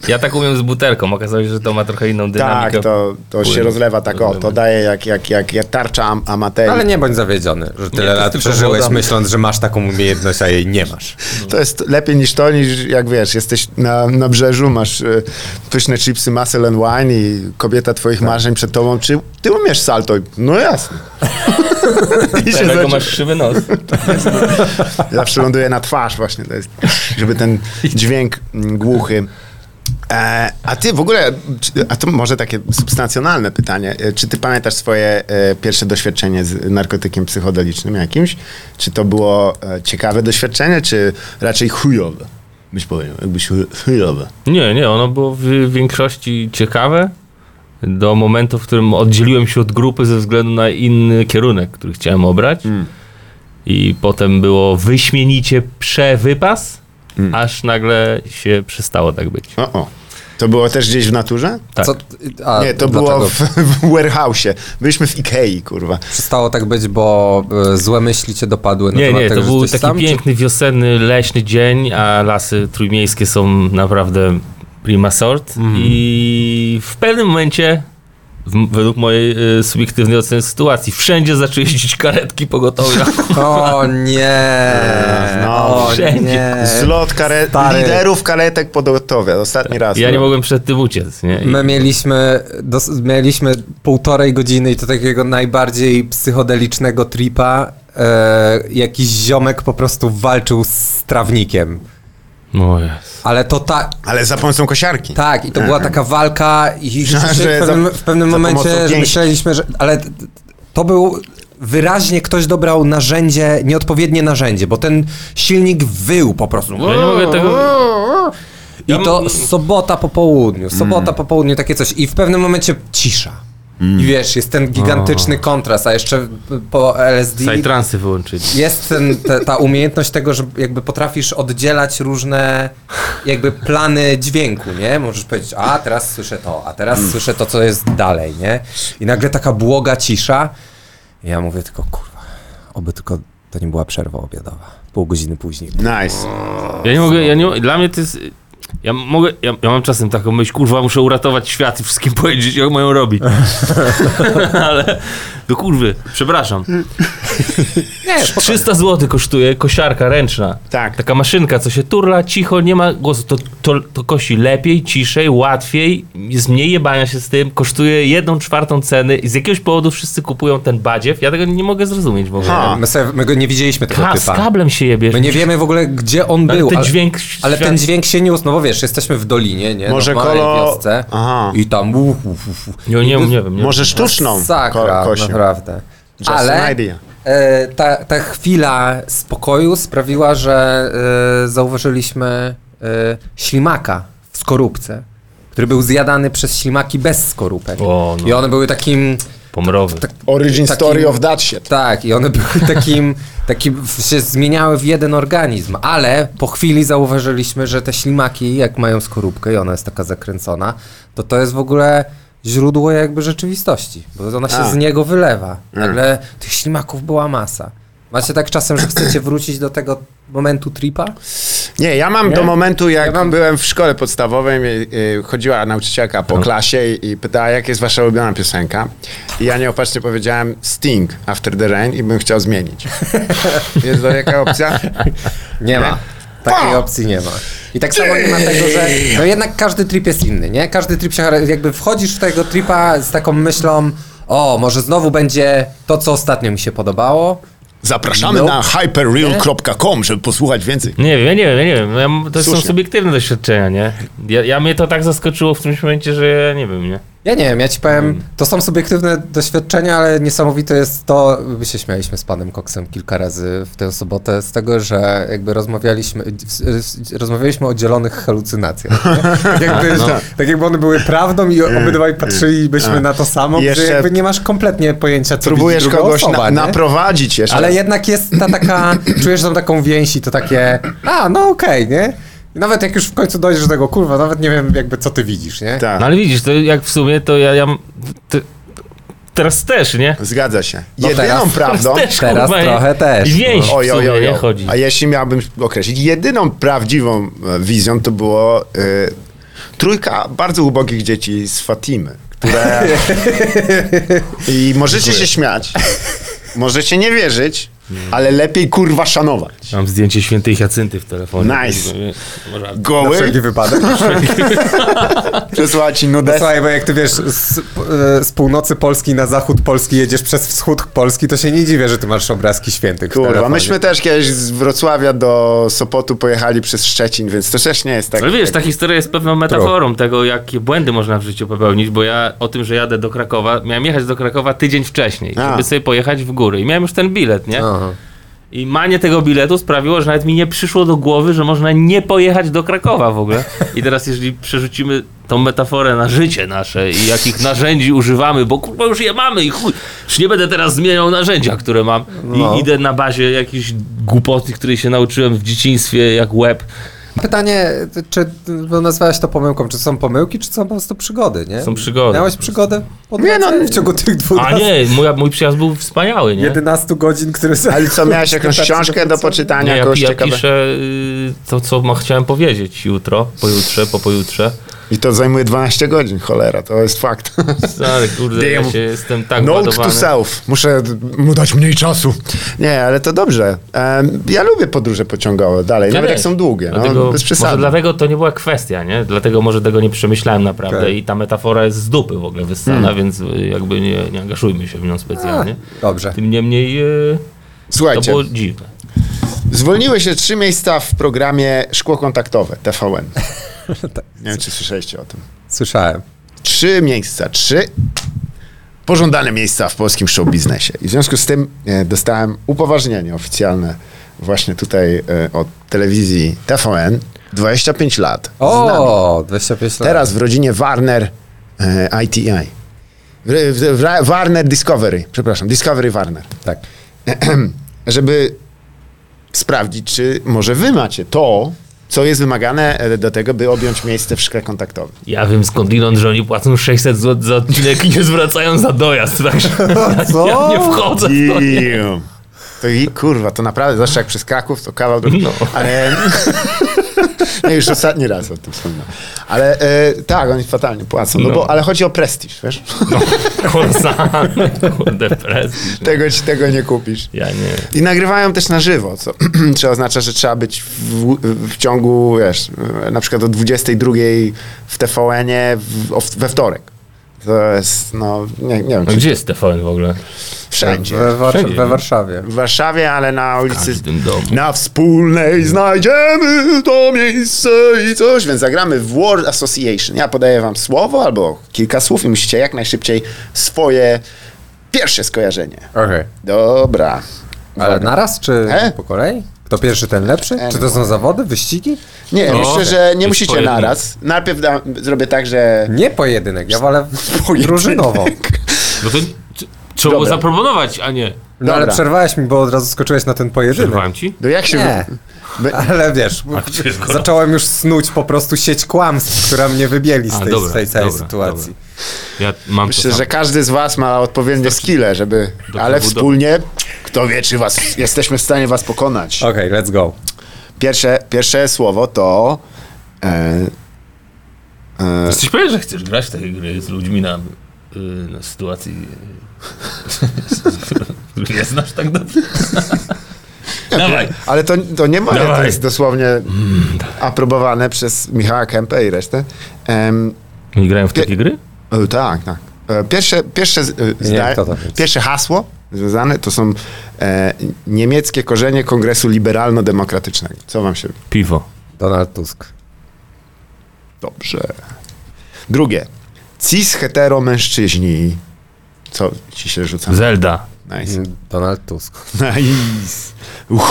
ja tak umiem z butelką. Okazało się, że to ma trochę inną tak, dynamikę. to, to się Płynie. rozlewa tak, o, to daje jak, jak, jak, jak tarcza am amaterii. Ale nie bądź zawiedziony, że tyle to lat tylko przeżyłeś woda. myśląc, że masz taką umiejętność, a jej nie masz. To jest lepiej niż to, niż jak wiesz, jesteś na, na brzeżu, masz e, pyszne chipsy, muscle and wine i kobieta twoich Tak. marzeń przed tobą, czy ty umiesz salto? No jasne. I się Dlatego zaczyna. masz krzywy nos. Zawsze ląduje na twarz właśnie, to jest, żeby ten dźwięk mm, głuchy. E, a ty w ogóle, czy- a to może takie substancjonalne pytanie, E, czy ty pamiętasz swoje e, pierwsze doświadczenie z narkotykiem psychodelicznym jakimś? Czy to było e, ciekawe doświadczenie, czy raczej chujowe? Byś powiedział, jakbyś chuj- chujowe. Nie, nie, ono było w większości ciekawe do momentu, w którym oddzieliłem się od grupy ze względu na inny kierunek, który chciałem obrać. Mm. I potem było wyśmienicie przewypas, Mm. aż nagle się przestało tak być. O, o. To było też gdzieś w naturze? Tak. Co, a Nie, to dlaczego? było w, w warehouse'ie. Byliśmy w Ikei, kurwa. Przestało tak być, bo e, złe myśli cię dopadły na Nie, temat nie, tego, to że był taki jesteś sam, czy- piękny, wiosenny, leśny dzień, a lasy trójmiejskie są naprawdę prima sort. Mhm. I w pewnym momencie, w, według mojej y, subiektywnej oceny sytuacji, wszędzie zaczęły jeździć karetki pogotowia. O nie! No, o wszędzie. nie! Zlot kare- E, stary. liderów karetek podotowia. Ostatni raz. ja nie No. mogłem przed tym uciec, nie? I My mieliśmy, dos- mieliśmy półtorej godziny i to takiego najbardziej psychodelicznego tripa. E, jakiś ziomek po prostu walczył z trawnikiem. No jest. Ale to tak, Ale za pomocą kosiarki. tak, i to była taka walka i Mhm. Że rzeczywiście w za- pewnym, w pewnym za momencie pomocą że pięści. myśleliśmy, że, ale t- t- to był wyraźnie ktoś dobrał narzędzie, nieodpowiednie narzędzie, bo ten silnik wył po prostu. Ja nie mogę tego... I Ja m- to sobota po południu, sobota po południu, takie coś. I w pewnym momencie cisza. I wiesz, jest ten gigantyczny kontrast, a jeszcze po LSD Sajtransy wyłączyli. jest ten, te, ta umiejętność tego, że jakby potrafisz oddzielać różne jakby plany dźwięku, nie? Możesz powiedzieć, a teraz słyszę to, a teraz słyszę to, co jest dalej, nie? I nagle taka błoga cisza. I ja mówię tylko, kurwa, oby tylko to nie była przerwa obiadowa. Pół godziny później. Nice. Mm. Ja nie mogę, ja nie, dla mnie to jest... Ja mogę, ja, ja mam czasem taką myśl, kurwa, muszę uratować świat i wszystkim powiedzieć, jak mają robić. Ale, do kurwy, przepraszam. Nie, 300 zł kosztuje kosiarka ręczna. Tak. Taka maszynka, co się turla, cicho, nie ma głosu. To, to, to kosi lepiej, ciszej, łatwiej, jest mniej jebania się z tym, kosztuje jedną czwartą ceny i z jakiegoś powodu wszyscy kupują ten badziew. Ja tego nie mogę zrozumieć w ogóle. Ha. My, sobie, my go nie widzieliśmy tego Ka z typa. kablem się jebiesz. My nie wiemy w ogóle, gdzie on Ale był. ten dźwięk... ale ten dźwięk się niósł, no bo wiesz, jesteśmy w dolinie, nie? Może no, w małej kolo- wiosce. Aha. I tam... Uf, uf, uf. uf. Nie, nie, nie wiem. Nie. Może sztuczną Sakra, ko- kosią. naprawdę. Just an ale idea. e, ta, ta chwila spokoju sprawiła, że e, zauważyliśmy e, ślimaka w skorupce, który był zjadany przez ślimaki bez skorupek. O, no. I one były takim... Pomrowy. Origin Takim- story of that shit. Tak, i one były takim, takim, się zmieniały w jeden organizm, ale po chwili zauważyliśmy, że te ślimaki, jak mają skorupkę i ona jest taka zakręcona, to to jest w ogóle źródło jakby rzeczywistości, bo ona się A. z niego wylewa. Nagle tych ślimaków była masa. Macie tak czasem, że chcecie wrócić do tego momentu tripa? Nie, ja mam do momentu, jak Ja mam- byłem w szkole podstawowej, y, y, chodziła nauczycielka No. po klasie i, i pytała, jak jest wasza ulubiona piosenka. I ja nieopatrznie powiedziałem Sting, After the Rain i bym chciał zmienić. jest to jaka opcja? Nie ma. Takiej opcji nie ma. I tak samo nie ma tego, że no jednak każdy trip jest inny, nie? Każdy trip się chara- jakby wchodzisz w tego tripa z taką myślą, o, może znowu będzie to, co ostatnio mi się podobało. Zapraszamy No. na hyperreal.com, żeby posłuchać więcej. Nie wiem, ja nie wiem, ja nie wiem. Ja, m- to Słusznie. są subiektywne doświadczenia, nie? Ja, ja mnie to tak zaskoczyło w którymś momencie, że ja nie wiem, nie? Ja nie wiem, ja ci Mm. powiem, to są subiektywne doświadczenia, ale niesamowite jest to, my się śmialiśmy z panem Koksem kilka razy w tę sobotę z tego, że jakby rozmawialiśmy, s- rozmawialiśmy o dzielonych halucynacjach. nie? Jakby, No. Tak jakby one były prawdą i obydwaj patrzylibyśmy na to samo, że Y, Jeszcze jakby nie masz kompletnie pojęcia, co Próbujesz widzi druga kogoś osoba, na, nie? naprowadzić jeszcze. Ale jednak jest ta taka, czujesz tam taką więź i to takie, a no okej, nie? I nawet jak już w końcu dojdziesz do tego, kurwa, nawet nie wiem jakby co ty widzisz, nie? Tak, No ale widzisz, to jak w sumie, to ja... ja m- ty, teraz też, nie? zgadza się. No Jedyną teraz- prawdą... Teraz no. też, Teraz kurwa, nie? trochę też. I więź w Oj, oj, sumie oj, nie oj. chodzi. A jeśli miałbym określić, jedyną prawdziwą e, wizją to było y, trójka bardzo ubogich dzieci z Fatimy, które... I możecie się śmiać, możecie nie wierzyć, ale lepiej kurwa szanować. Mam zdjęcie świętej Jacynty w telefonie. Nice. Może- Na Goły, wszelki wypadek. przesłała ci nudę. Słuchaj, bo jak ty wiesz, z, e, z północy Polski na zachód Polski jedziesz przez wschód Polski, to się nie dziwię, że ty masz obrazki świętych. w Kurwa, telefonie. myśmy też kiedyś z Wrocławia do Sopotu pojechali przez Szczecin, więc to też nie jest tak. Ale wiesz, ta historia jest pewną metaforą tego, jakie błędy można w życiu popełnić, bo ja o tym, że jadę do Krakowa, miałem jechać do Krakowa tydzień wcześniej, A. żeby sobie pojechać w góry i miałem już ten bilet, nie? Aha. I manie tego biletu sprawiło, że nawet mi nie przyszło do głowy, że można nie pojechać do Krakowa w ogóle. I teraz jeżeli przerzucimy tą metaforę na życie nasze i jakich narzędzi używamy, bo kurwa już je mamy i chuj, już nie będę teraz zmieniał narzędzia, które mam i No. idę na bazie jakiejś głupoty, której się nauczyłem w dzieciństwie jak łeb. Pytanie, czy bo nazwałeś to pomyłką, czy są pomyłki, czy są po prostu przygody, nie? Są przygody. Miałeś przygodę od Nie, no, w ciągu tych A 12, nie, mój, mój przyjazd był wspaniały, nie? 11 godzin, które... Ale co, miałeś jakąś Dotarcie do książkę do końca? poczytania, Nie, No ja, jakąś ja ciekawego? piszę y, to, co ma, chciałem powiedzieć jutro, pojutrze, po pojutrze. I to zajmuje 12 godzin, cholera, to jest fakt. Stary, kurde, ja Damn. się jestem tak Note ładowany. to self. Muszę mu dać mniej czasu. Nie, ale to dobrze. Em, ja lubię podróże pociągowe dalej, Ja nawet też. jak są długie. No, Dlatego, bez może przesady. dlatego to nie była kwestia, nie? Dlatego może tego nie przemyślałem naprawdę Tak. Okej. i ta metafora jest z dupy w ogóle wyssana, Hmm. więc y, jakby nie, nie angażujmy się w nią specjalnie. Dobrze. Tym niemniej y, to Słuchajcie, było dziwne. zwolniły się trzy miejsca w programie Szkło Kontaktowe TVN. Nie wiem, czy słyszeliście o tym. Słyszałem. Trzy miejsca, trzy pożądane miejsca w polskim show biznesie. I w związku z tym e, dostałem upoważnienie oficjalne właśnie tutaj e, od telewizji TVN. 25 lat. O, 25 lat. Teraz w rodzinie Warner e, ITI. W, w, w, Warner Discovery, przepraszam, Discovery Warner. Tak. Żeby sprawdzić, czy może wy macie to, co jest wymagane e, do tego, by objąć miejsce w szkle kontaktowym. Ja wiem skądinąd, że oni płacą 600 zł za odcinek i nie zwracają za dojazd, także ja nie wchodzę w to. nie. To i kurwa, to naprawdę, zawsze jak przez Kraków, to kawał... No. Ale... Nie, już ostatni raz o tym wspominałem. Ale e, tak, oni fatalnie płacą, no. No. bo, ale chodzi o prestiż, wiesz? Korsany, kurde, prestiż. Tego, ci- tego nie kupisz. Ja nie. I nagrywają też na żywo, co, co oznacza, że trzeba być w, w ciągu, wiesz, na przykład o 22 w TVN-ie w, o- we wtorek. To jest, no, nie, nie wiem, No czy gdzie jest TVN w ogóle? wszędzie. We, Warsz- Wszędzie. we Warszawie. W Warszawie, ale na ulicy... W tym domu. Na wspólnej znajdziemy to miejsce i coś. Więc zagramy w World Association. Ja podaję wam słowo albo kilka słów i musicie jak najszybciej swoje pierwsze skojarzenie. Okej. Dobra. Ale naraz, czy E? po kolei? Kto pierwszy, ten lepszy? E, Czy to są zawody, wyścigi? Nie, No. myślę, że nie Jest musicie pojedynek. naraz. Najpierw da, zrobię tak, że. Nie pojedynek, ja wolę w- Pojedynek. drużynowo. No to t- trzeba było Dobra. zaproponować, a nie. No ale Dobra. przerwałeś mi, bo od razu skoczyłeś na ten pojedynek. Przerwałem ci? No jak się. Nie. By, Ale wiesz, przecież go- zacząłem już snuć po prostu sieć kłamstw, która mnie wybieli z A, tej, dobra, z tej całej dobra, sytuacji. Ja mam to myślę, samo. że każdy z was ma odpowiednie skille, żeby. Do ale klubu do- wspólnie Kto wie, czy was, jesteśmy w stanie was pokonać. Okej, let's go. Pierwsze, pierwsze słowo to... E, Jesteś pewien, że chcesz grać w takie gry z ludźmi na, y, na sytuacji, których nie znasz tak dobrze? Dawaj. ale to, to nie moje, to Dawaj. Mm, jest dosłownie aprobowane przez Michała Kempę i resztę. Em, Nie grają w takie takie gry? E, Tak, tak. E, Pierwsze, pierwsze, z- e, zda- kto to jest. pierwsze hasło związane to są e, niemieckie korzenie Kongresu Liberalno-Demokratycznego. Co wam się... Piwo. Donald Tusk. Dobrze. Drugie. Cis hetero mężczyźni. Co ci się rzuca? Zelda. Nice. Donald Tusk. Nice.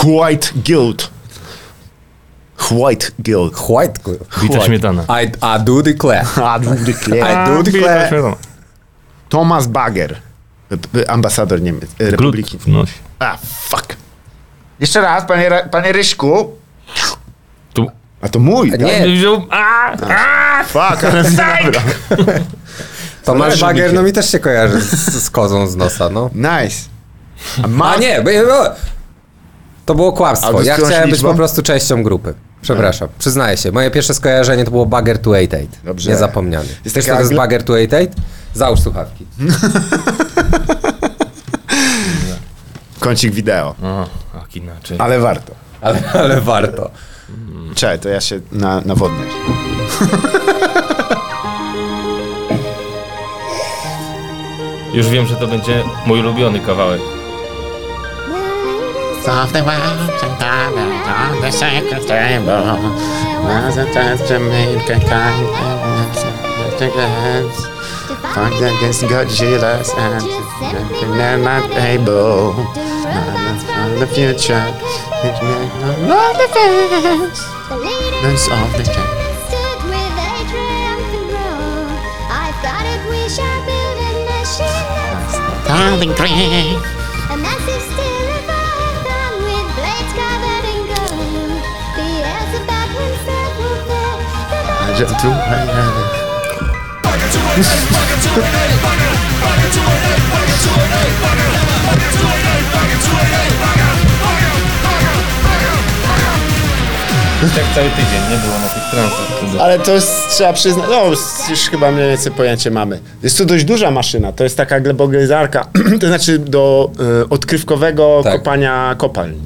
White guilt. White guilt. White girl. Bita śmietana. I, I do declare. I do Bita declare. śmietana. Thomas Bagger. e, p- Ambasador Niemiec, e, Republiki. Glut w nosie. A, fuck. Jeszcze raz, panie, Ra- panie Ryśku. Tu. A to mój. tak? Nie, Wziął- A, a, Fuck, ale dobra. Tomasz zależy mi Bagier, się. no mi też się kojarzy z, z kozą z nosa, no. Nice. A, A nie, bo, bo, to było A kłamstwo. to z Ja którąś chciałem być liczbą? po prostu częścią grupy. Przepraszam, przyznaję się. Moje pierwsze skojarzenie to było Bagger 288. Dobrze. Niezapomniany. Jest Wiesz, taka co to jest anglo- Bagger 288? Załóż słuchawki. Kącik wideo. a. Jak inaczej. Ale warto. Ale, ale warto. Czekaj, to ja się na, nawodnę. Już wiem, że to będzie mój ulubiony kawałek. Something works and times on the sacred table. Was it just Jamaican kind of hands? Fight against Godzilla's hands. And they're not able. Violence from the future. It's made of all the fans. That's all the time. Darling green. Że tu... Tak cały tydzień nie było na tych transach. Ale to jest, trzeba przyznać, no już chyba mniej więcej pojęcie mamy. Jest to dość duża maszyna, to jest taka glebogryzarka, to znaczy do y, odkrywkowego Tak. kopania kopalń.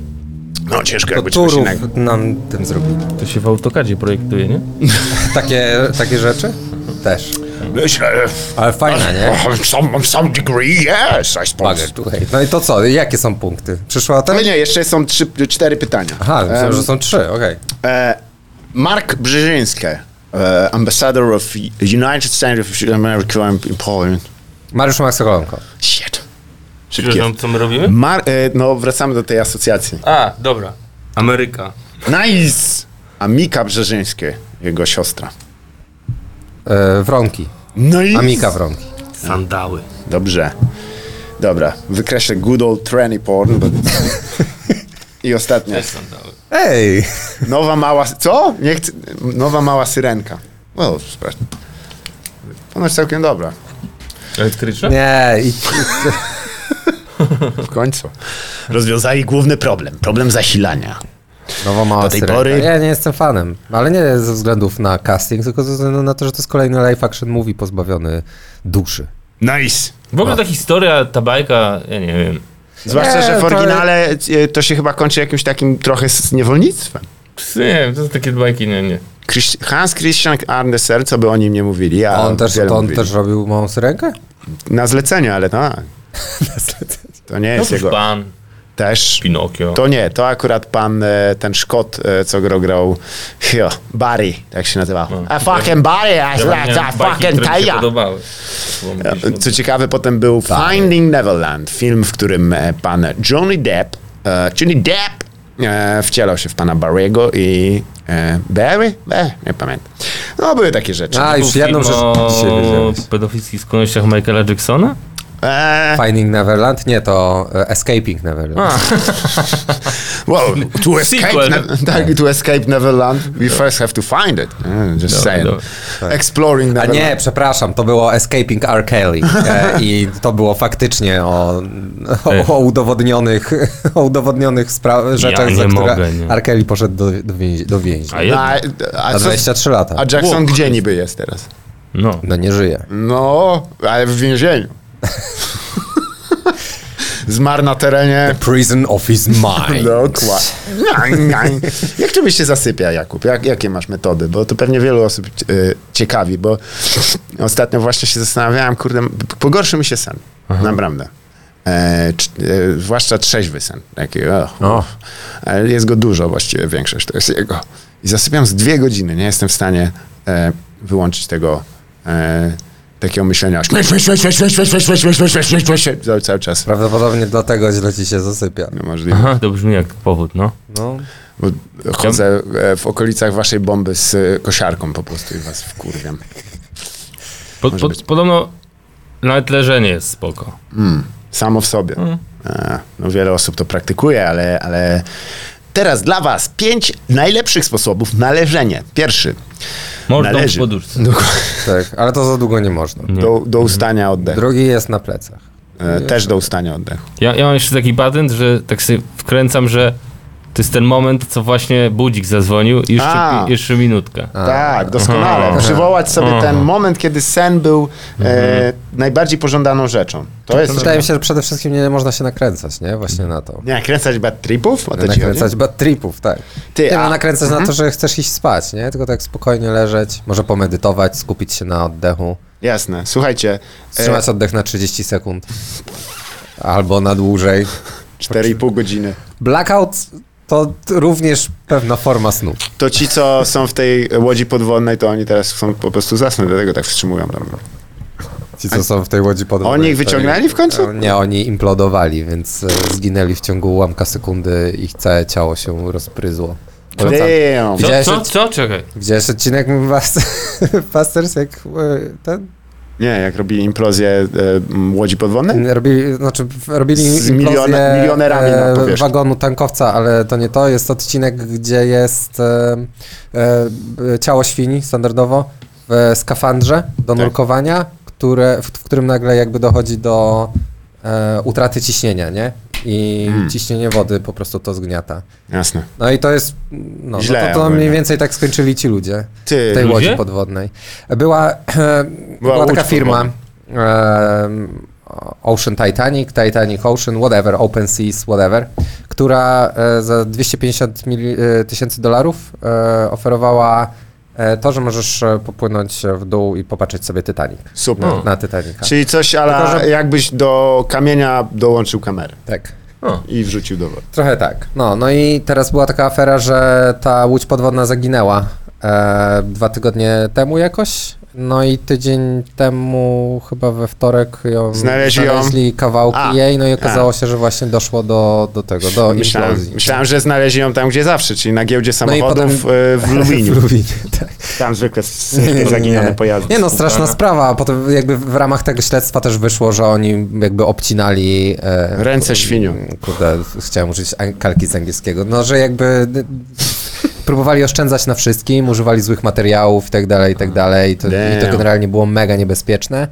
No ciężko jakby czegoś Turów innego. nam tym zrobili. To się w autokadzie projektuje, nie? Takie, takie rzeczy? Też. e, Myślę, Ale fajna, nie? some, some degree, yes, I Bagger suppose. 288. No i to co? Jakie są punkty? Przyszło o tym? Ale No nie, jeszcze są trzy, cztery pytania. Aha, myślałem, Em, że są trzy, okej. E, Mark Brzeziński, e, ambassador of United States of America in Poland. Mariusz Maksokolenko. Shit. Szybkie. Przepraszam, co my robimy? Mar e, no, wracamy do tej asocjacji. A, dobra. Ameryka. Nice! A Mika Brzezińskie, jego siostra. E, Wronki. Nice! Amika Wronki. Sandały. Dobrze. Dobra, wykreślę good old tranny porn. Bo... I ostatnia. Też sandały. Ej! Nowa mała... Co? Nie chcę... Nowa mała syrenka. Well, przepraszam. Ona jest całkiem dobra. Elektryczne? Nie, i W końcu. Rozwiązali główny problem. Problem zasilania. nowa mała Do tej syrenka. pory- Ja nie jestem fanem, ale nie ze względów na casting, tylko ze względu na to, że to jest kolejny live action movie pozbawiony duszy. Nice. W ogóle ta historia, ta bajka, ja nie wiem. Zwłaszcza, Nie, że w to- oryginale e, to się chyba kończy jakimś takim trochę z niewolnictwem. Psy, Nie wiem, to są takie bajki, nie, nie. Chryś- Hans Christian Andersen, co by o nim nie mówili, ja On też, wiele to on mówili. też robił małą syrenkę? Na zlecenie, ale tak. To nie No jest cóż, jego... pan, Też... Pinokio. To nie, to akurat pan, e, ten Szkot, e, co go grał, hio, Barry, tak się nazywał. A fucking Barry, I No. Ja miałem I bajki, fucking które mi się tell you. podobały. Było mi gdzieś Co ciekawe, potem był Finding Neverland, film, w którym e, pan Johnny Depp, e, czyli Depp, e, wcielał się w pana Barry'ego i e, Barry? E, nie pamiętam. No, były takie rzeczy. A, Był już jedną film rzecz o dzisiaj wiedziałeś. pedofilskich skłonnościach Michaela Jacksona? Eee, Finding Neverland? Nie, to e, Escaping Neverland. wow, to escape, Sequel. ne- tak, to escape Neverland, we first have to find it. Mm, just saying. dobra. Exploring Tak. A Neverland. nie, przepraszam, to było Escaping R. Kelly e, i to było faktycznie o, o, o udowodnionych, o udowodnionych spra- rzeczach, nie za które mogę, nie. R. Kelly poszedł do, do, więzi- do więzienia. A jedna. No, A, a, Na co, 23 lata. a Jackson gdzie niby jest teraz? No. No nie żyje. No, ale w więzieniu. Zmarł na terenie. Prison of his mind. Dokładnie. Jak tobie się zasypia, Jakub? Jak, jakie masz metody? Bo to pewnie wielu osób y, ciekawi, bo ostatnio właśnie się zastanawiałem, kurde, pogorszył mi się sen. Naprawdę. E, czy, e, zwłaszcza trzeźwy sen. Taki, o, Ale jest go dużo, właściwie większość to jest jego. I zasypiam z dwie godziny, nie jestem w stanie e, wyłączyć tego e, takiego myślenia. Śmieć, śmieć, śmieć, śmieć, śmieć, śmieć, śmieć, śmieć, śmieć, śmieć, śmieć, śmieć, śmieć. Cały- Cały czas. Prawdopodobnie dlatego źle ci się zasypia. No, Możliwe. Aha, to brzmi jak powód, no. No. Bo chodzę e, w okolicach waszej bomby z e, kosiarką po prostu i was wkurwiam. Po, po, podobno nawet leżenie jest spoko. Samo w sobie. E, No wiele osób to praktykuje, ale, ale teraz dla was pięć najlepszych sposobów na leżenie. Pierwszy, Mordą w Należy. poduszce. Tak, ale to za długo nie można. do, do ustania oddechu. Drugi jest na plecach. E, Też do ustania oddechu. Ja, ja mam jeszcze taki patent, że tak sobie wkręcam, że to jest ten moment, co właśnie budzik zadzwonił i jeszcze, A. jeszcze minutka. Tak, doskonale. Przywołać sobie ten moment, kiedy sen był e, najbardziej pożądaną rzeczą. Tak, To jest... Wydaje mi się, że przede wszystkim nie można się nakręcać, nie? Właśnie na to. Nie nakręcać bad tripów? O to Nie ci chodzi? nakręcać bad tripów, tak. Ty, nie a- Mhm. ma nakręcać na to, że chcesz iść spać, nie? Tylko tak spokojnie leżeć, może pomedytować, skupić się na oddechu, Jasne. Słuchajcie, e, wstrzymać oddech na 30 sekund albo na dłużej. 4,5 godziny. Blackout to t- również pewna forma snu. To ci, co są w tej łodzi podwodnej, to oni teraz chcą po prostu zasnąć, dlatego tak wstrzymują tam. Ci, co są w tej łodzi podobnej. Oni ich wyciągnęli w końcu? No, Nie, oni implodowali, więc e, zginęli w ciągu ułamka sekundy i całe ciało się rozpryzło. Polecam. Damn. Co, Widziałeś, co, co? Czekaj. Widziałeś odcinek Busters, jak e, ten? Nie, jak robili implozję e, m, łodzi podwodnej? Robili, znaczy, robili Z miliona- implozję, milionerami na e, powierzchni. wagonu tankowca, ale to nie to. Jest odcinek, gdzie jest e, e, b- ciało świni standardowo w e, skafandrze do Tak. nurkowania, które, w, w którym nagle jakby dochodzi do e, utraty ciśnienia, nie? I Hmm. ciśnienie wody po prostu to zgniata. Jasne. No i to jest. No, Źle no to, to ogólnie. mniej więcej tak skończyli ci ludzie Ty, w tej ludzie? łodzi podwodnej. Była, była, łódź taka firma em, Ocean Titanic, Titanic Ocean, whatever, Open Seas, whatever, która e, za 250 mili- e, tysięcy dolarów e, oferowała e, to, że możesz e, popłynąć w dół i popatrzeć sobie Titanic. Super. Na, na Titanica. Czyli coś, ale Tylko, że- jakbyś do kamienia dołączył kamerę Tak. i wrzucił do wody. Trochę tak. No, no i teraz była taka afera, że ta łódź podwodna zaginęła e, dwa tygodnie temu jakoś. No i tydzień temu, chyba we wtorek, ją Znaleźli ją. znaleźli kawałki A, jej, no i okazało się, że właśnie doszło do, do tego, do Myślałem, implozji. myślałem, że znaleźli ją tam, gdzie zawsze, czyli na giełdzie No i potem- samochodów e, w Lubliniu. W Lublinie, tak. Tam zwykle s- zaginione Tak. pojazdy. Nie no, straszna sprawa. a Potem jakby w ramach tego śledztwa też wyszło, że oni jakby obcinali... E, Ręce świniom. Kurde, chciałem użyć ang- kalki z angielskiego. No, że jakby d- próbowali oszczędzać na wszystkim, używali złych materiałów i tak dalej, i tak dalej. I to, i to Mm. Damn. generalnie było mega niebezpieczne.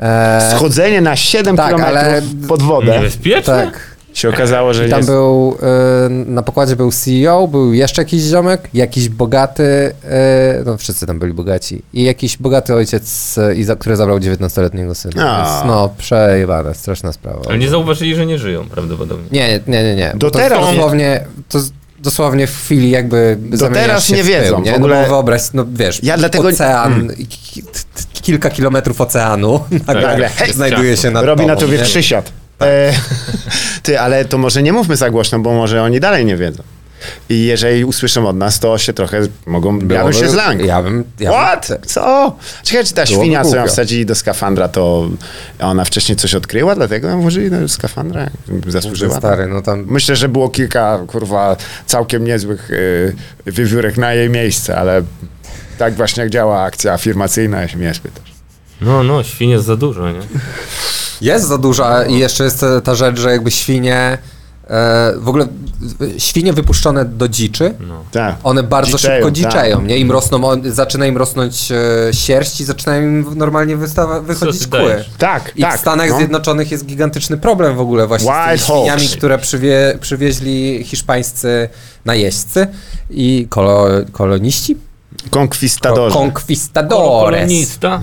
E, Schodzenie na 7 Tak, km ale- pod wodę. Niebezpieczne? tak. Się okazało, że I nie tam był, y, na pokładzie był CEO, był jeszcze jakiś ziomek, jakiś bogaty, y, no wszyscy tam byli bogaci, i jakiś bogaty ojciec, y, i za, który zabrał 19-letniego syna. A. Więc, no, przejebane, straszna sprawa. Ale nie zauważyli, że nie żyją prawdopodobnie. Nie, nie, nie, nie. Do Bo to teraz nie- dosłownie, to z- dosłownie w chwili jakby Do teraz się nie w pył, wiedzą, nie? w No ogóle- bo wyobraź, no wiesz, Ja dlatego- Mm. ocean, i ki- t- t- kilka kilometrów oceanu nagle Tak, Nagle, hej, znajduje się nad Robi tobą, na tobie nie? Tak. przysiad. E, ty, ale to może nie mówmy za głośno, bo może oni dalej nie wiedzą. I jeżeli usłyszą od nas, to się trochę mogą... ja bym Byłoby- się zlękł. Ja bym... Ja bym- What? Co? Ciekawe, czy ta Byłoby świnia, co ją głupio. wsadzili do skafandra, to ona wcześniej coś odkryła, dlatego ją włożyli do skafandra? Zasłużyła? Stary, no tam... Myślę, że było kilka, kurwa, całkiem niezłych y, wywiórek na jej miejsce, ale tak właśnie działa akcja afirmacyjna, jeśli mnie spytasz. No, no, świnie za dużo, nie? Jest za duża i jeszcze jest e, ta rzecz, że jakby świnie, e, w ogóle e, świnie wypuszczone do dziczy, No. Tak. one bardzo Dziczeją, szybko tak. dziczeją, nie? Im rosną, on, zaczyna im rosnąć e, sierść i zaczynają im normalnie wystawa, wychodzić ty kły. dajesz? Tak, I tak. w Stanach no. Zjednoczonych jest gigantyczny problem w ogóle właśnie z tymi Wild świniami, hogs. które przywie, przywieźli hiszpańscy najeźdźcy i kolo, koloniści? Konkwistadorzy. Conquistadores. Kolonista?